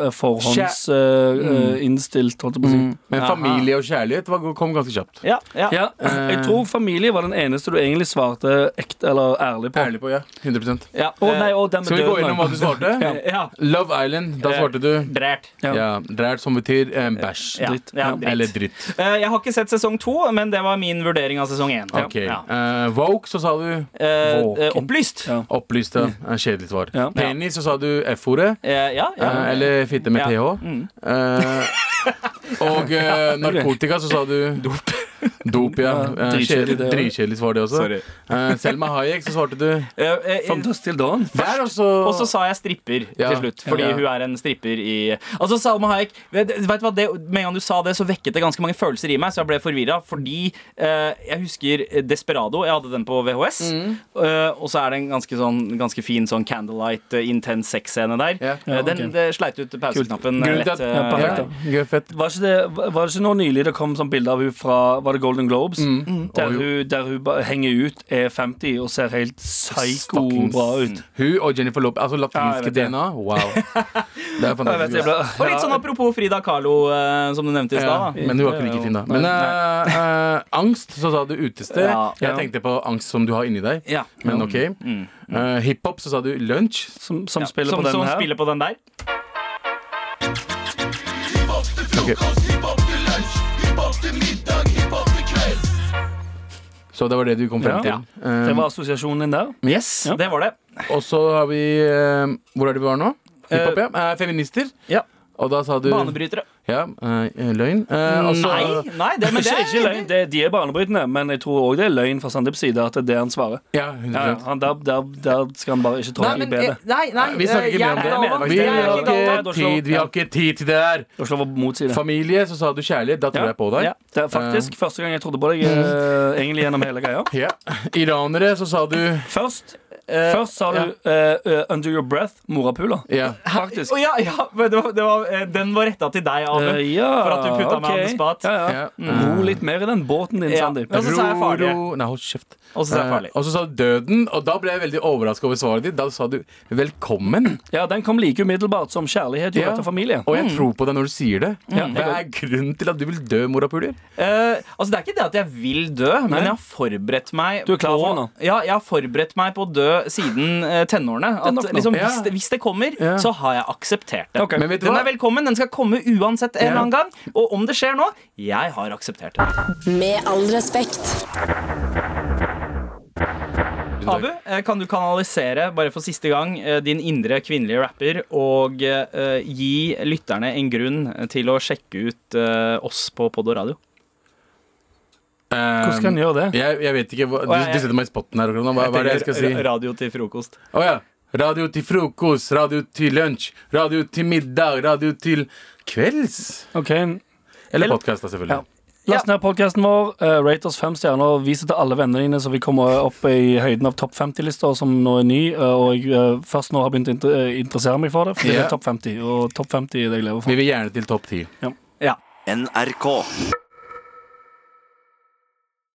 Speaker 4: eh, eh, forhånds
Speaker 2: Mm.
Speaker 4: eh, eh, innstilt, holdt jeg på å si.
Speaker 3: Men
Speaker 2: Aha.
Speaker 3: familie og kjærlighet var, kom ganske kjapt.
Speaker 2: Ja, ja. Eh.
Speaker 4: Ja, jeg tror familie var den eneste du egentlig svarte ekte eller ærlig på.
Speaker 3: Ærlig på, ja. 100
Speaker 2: ja.
Speaker 4: Å nei, å, den med
Speaker 3: Skal vi gå
Speaker 4: døden,
Speaker 3: innom hva du svarte?
Speaker 2: eh, ja.
Speaker 3: Love Island, da svarte du
Speaker 2: Drært.
Speaker 4: Ja.
Speaker 3: Ja, Drært som betyr eh, bæsj.
Speaker 2: Ja,
Speaker 4: Dritt.
Speaker 2: ja, dritt.
Speaker 3: Eller dritt.
Speaker 2: Eh, jeg har ikke sett sesong to, men det var min vurdering av sesong én.
Speaker 3: Ok.
Speaker 2: Ja.
Speaker 3: Eh, woke, så sa du
Speaker 2: Eh, eh,
Speaker 4: Våken.
Speaker 2: opplyst.
Speaker 4: Ja.
Speaker 3: opplyst. ja. Eh, Kjedelig svar.
Speaker 4: Ja.
Speaker 3: Penis, så sa du F-ordet.
Speaker 2: Eh, ja, ja.
Speaker 3: eh, eller fitte med
Speaker 2: Ja.
Speaker 3: TH. Eh, og eh, narkotika, så sa du Dop. Dop, ja.
Speaker 4: Ja,
Speaker 3: Eh,
Speaker 4: dritkjedelig
Speaker 3: kjedelig-
Speaker 4: det, ja.
Speaker 3: Dritkjedelig svar, det også.
Speaker 2: Sorry.
Speaker 3: Eh, Selma Hayek, så svarte du
Speaker 2: Eh, eh,
Speaker 4: From dusk til dawn.
Speaker 3: Der også.
Speaker 2: Og så sa jeg stripper
Speaker 3: Ja.
Speaker 2: til slutt, fordi
Speaker 3: Ja.
Speaker 2: hun er en stripper i Altså Salma Hayek vet, vet du hva, det, Med en gang du sa det, så vekket det ganske mange følelser i meg, så jeg ble forvirra. Fordi eh, jeg husker Desperado. Jeg hadde den på VHS.
Speaker 3: Mm.
Speaker 2: eh, og så er det en ganske, sånn, ganske fin sånn candlelight, eh, intens sexscene der.
Speaker 3: Ja.
Speaker 2: Eh, den
Speaker 4: ok.
Speaker 2: det sleit ut pauseknappen eh,
Speaker 3: Grunnen til
Speaker 2: lett.
Speaker 3: at
Speaker 2: eh,
Speaker 4: Ja, perfekt,
Speaker 3: ja,
Speaker 2: der.
Speaker 3: gøy, fett.
Speaker 4: Var, ikke det, var det ikke nå nylig det kom sånn bilde av hun fra Var det Golden Globes?
Speaker 3: Mm.
Speaker 2: Mm.
Speaker 4: Der,
Speaker 3: Og hun-
Speaker 4: hun, der hun ba- henger ut, er 50 og ser helt psycho
Speaker 3: Fuckings-
Speaker 4: bra ut.
Speaker 3: Hun og Jennifer Lopez. Altså
Speaker 4: Ja, jeg
Speaker 3: latinske
Speaker 4: vet det.
Speaker 3: DNA. Wow. Det er
Speaker 4: Jeg vet,
Speaker 3: fantastisk.
Speaker 4: jeg ble,
Speaker 2: Og litt sånn apropos Frida Kahlo, eh, som du nevnte i
Speaker 3: Ja,
Speaker 2: stad. da.
Speaker 3: men hun var ikke like fin, da. Men eh, eh, angst, så sa du utested.
Speaker 2: Ja.
Speaker 3: Jeg tenkte på angst som du har inni deg,
Speaker 2: Ja.
Speaker 3: men OK. Eh, Hiphop, så sa du lunsj.
Speaker 4: som, som
Speaker 2: Ja,
Speaker 4: spiller
Speaker 2: som,
Speaker 4: på den
Speaker 2: som
Speaker 4: her.
Speaker 2: spiller på den der.
Speaker 3: Så det var det du kom frem
Speaker 4: Ja.
Speaker 3: til. Eh,
Speaker 4: Det var assosiasjonen din der.
Speaker 2: Yes,
Speaker 4: Ja.
Speaker 2: det var det.
Speaker 3: og så har vi eh, Hvor er det vi var nå? Hiphop, ja. Eh, feminister.
Speaker 2: Ja.
Speaker 3: Og da sa du
Speaker 2: Banebrytere.
Speaker 3: Ja, eh, løgn. Eh, og så-
Speaker 2: nei, nei, det, men det
Speaker 4: Ikke, ikke løgn, det, De er banebrytende, men jeg tror òg det er løgn fra Sandeeps side at det er det han svarer.
Speaker 3: Ja,
Speaker 4: Ja,
Speaker 3: 100
Speaker 4: han, der, der, der skal han bare ikke tråkke i
Speaker 2: eh,
Speaker 4: bedet.
Speaker 2: nei, nei,
Speaker 3: Vi snakker ikke
Speaker 2: eh,
Speaker 3: mer om
Speaker 2: jeg er
Speaker 3: det.
Speaker 2: Galvan.
Speaker 3: Vi
Speaker 2: Jeg er
Speaker 3: har
Speaker 2: ikke Galvan.
Speaker 3: ikke tid, vi har ikke tid til det der.
Speaker 4: Da slår vi mot side.
Speaker 3: Familie, så sa du kjærlighet. Da tror
Speaker 4: Ja.
Speaker 3: jeg på deg.
Speaker 2: Ja.
Speaker 4: Det er faktisk første gang jeg trodde på deg, eh, egentlig gjennom hele greia.
Speaker 3: Ja. Iranere, så sa du
Speaker 4: Først,
Speaker 2: Eh,
Speaker 4: først sa du eh, eh, 'Under Your Breath', morapula.
Speaker 3: Ja.
Speaker 4: Faktisk.
Speaker 2: Å, ja, ja, men det var, det var, eh, den var retta til deg, Abu.
Speaker 4: Eh, ja,
Speaker 2: for at du putta meg
Speaker 4: ok.
Speaker 2: on the spot.
Speaker 4: Ja, ja.
Speaker 3: ja.
Speaker 4: Ro litt mer i den båten din,
Speaker 2: Ja.
Speaker 4: Sandeep.
Speaker 2: Ja, Mm. så sa jeg farlig.
Speaker 3: Ro, ro. Nei, hold kjeft.
Speaker 2: Og så sa jeg
Speaker 3: Eh,
Speaker 2: farlig.
Speaker 3: og så sa du døden, og da ble jeg veldig overraska over svaret ditt. Da sa du velkommen.
Speaker 4: Ja, den kom like umiddelbart som kjærlighet
Speaker 3: Ja.
Speaker 4: gjorde til familie.
Speaker 3: Og
Speaker 2: Mm.
Speaker 3: jeg tror på deg når du sier det.
Speaker 4: Ja,
Speaker 3: Hva er
Speaker 4: jeg
Speaker 3: grunnen til at du vil dø, morapuler?
Speaker 2: Eh, altså Det er ikke det at jeg vil dø, men jeg har forberedt meg
Speaker 4: Du er klar
Speaker 2: på,
Speaker 4: for det nå?
Speaker 2: Ja, jeg har forberedt meg på å dø siden eh, tenårene.
Speaker 4: er
Speaker 2: At,
Speaker 4: nok nå.
Speaker 2: liksom,
Speaker 3: Ja.
Speaker 2: hvis, det, hvis det kommer,
Speaker 3: Ja.
Speaker 2: så har jeg akseptert det.
Speaker 4: Ok.
Speaker 3: Men vet du
Speaker 2: Den
Speaker 3: hva?
Speaker 2: er velkommen, den skal komme uansett en eller annen gang. Og om det skjer nå, jeg har akseptert det.
Speaker 6: Med all respekt.
Speaker 2: Abu, eh, kan du kanalisere, bare for siste gang, eh, din indre kvinnelige rapper og eh, gi lytterne en grunn til å sjekke ut eh, oss på Pod og Radio?
Speaker 4: Hvordan skal han gjøre det?
Speaker 3: Jeg, jeg vet ikke, hva, du,
Speaker 2: jeg-
Speaker 3: du setter meg i spotten her. Hva, hva er det jeg skal si?
Speaker 2: ra- Radio til frokost.
Speaker 3: Å ja. Radio til frokost, radio til lunsj, radio til middag, radio til kvelds.
Speaker 4: Ok,
Speaker 3: Eller
Speaker 2: Eller-
Speaker 3: podkast, da, selvfølgelig.
Speaker 4: Ja. Last ned podkasten vår. Uh, Rate oss fem stjerner. Vis det til alle vennene dine, så vi kommer opp i høyden av topp 50-lista, som nå er ny. eh, og jeg eh, først nå har begynt å inter eh, interessere meg for det, fordi det
Speaker 3: Ja.
Speaker 4: er topp 50. Og topp 50 er det jeg lever for.
Speaker 3: Vi vil gjerne til topp ti.
Speaker 2: Ja.
Speaker 7: NRK.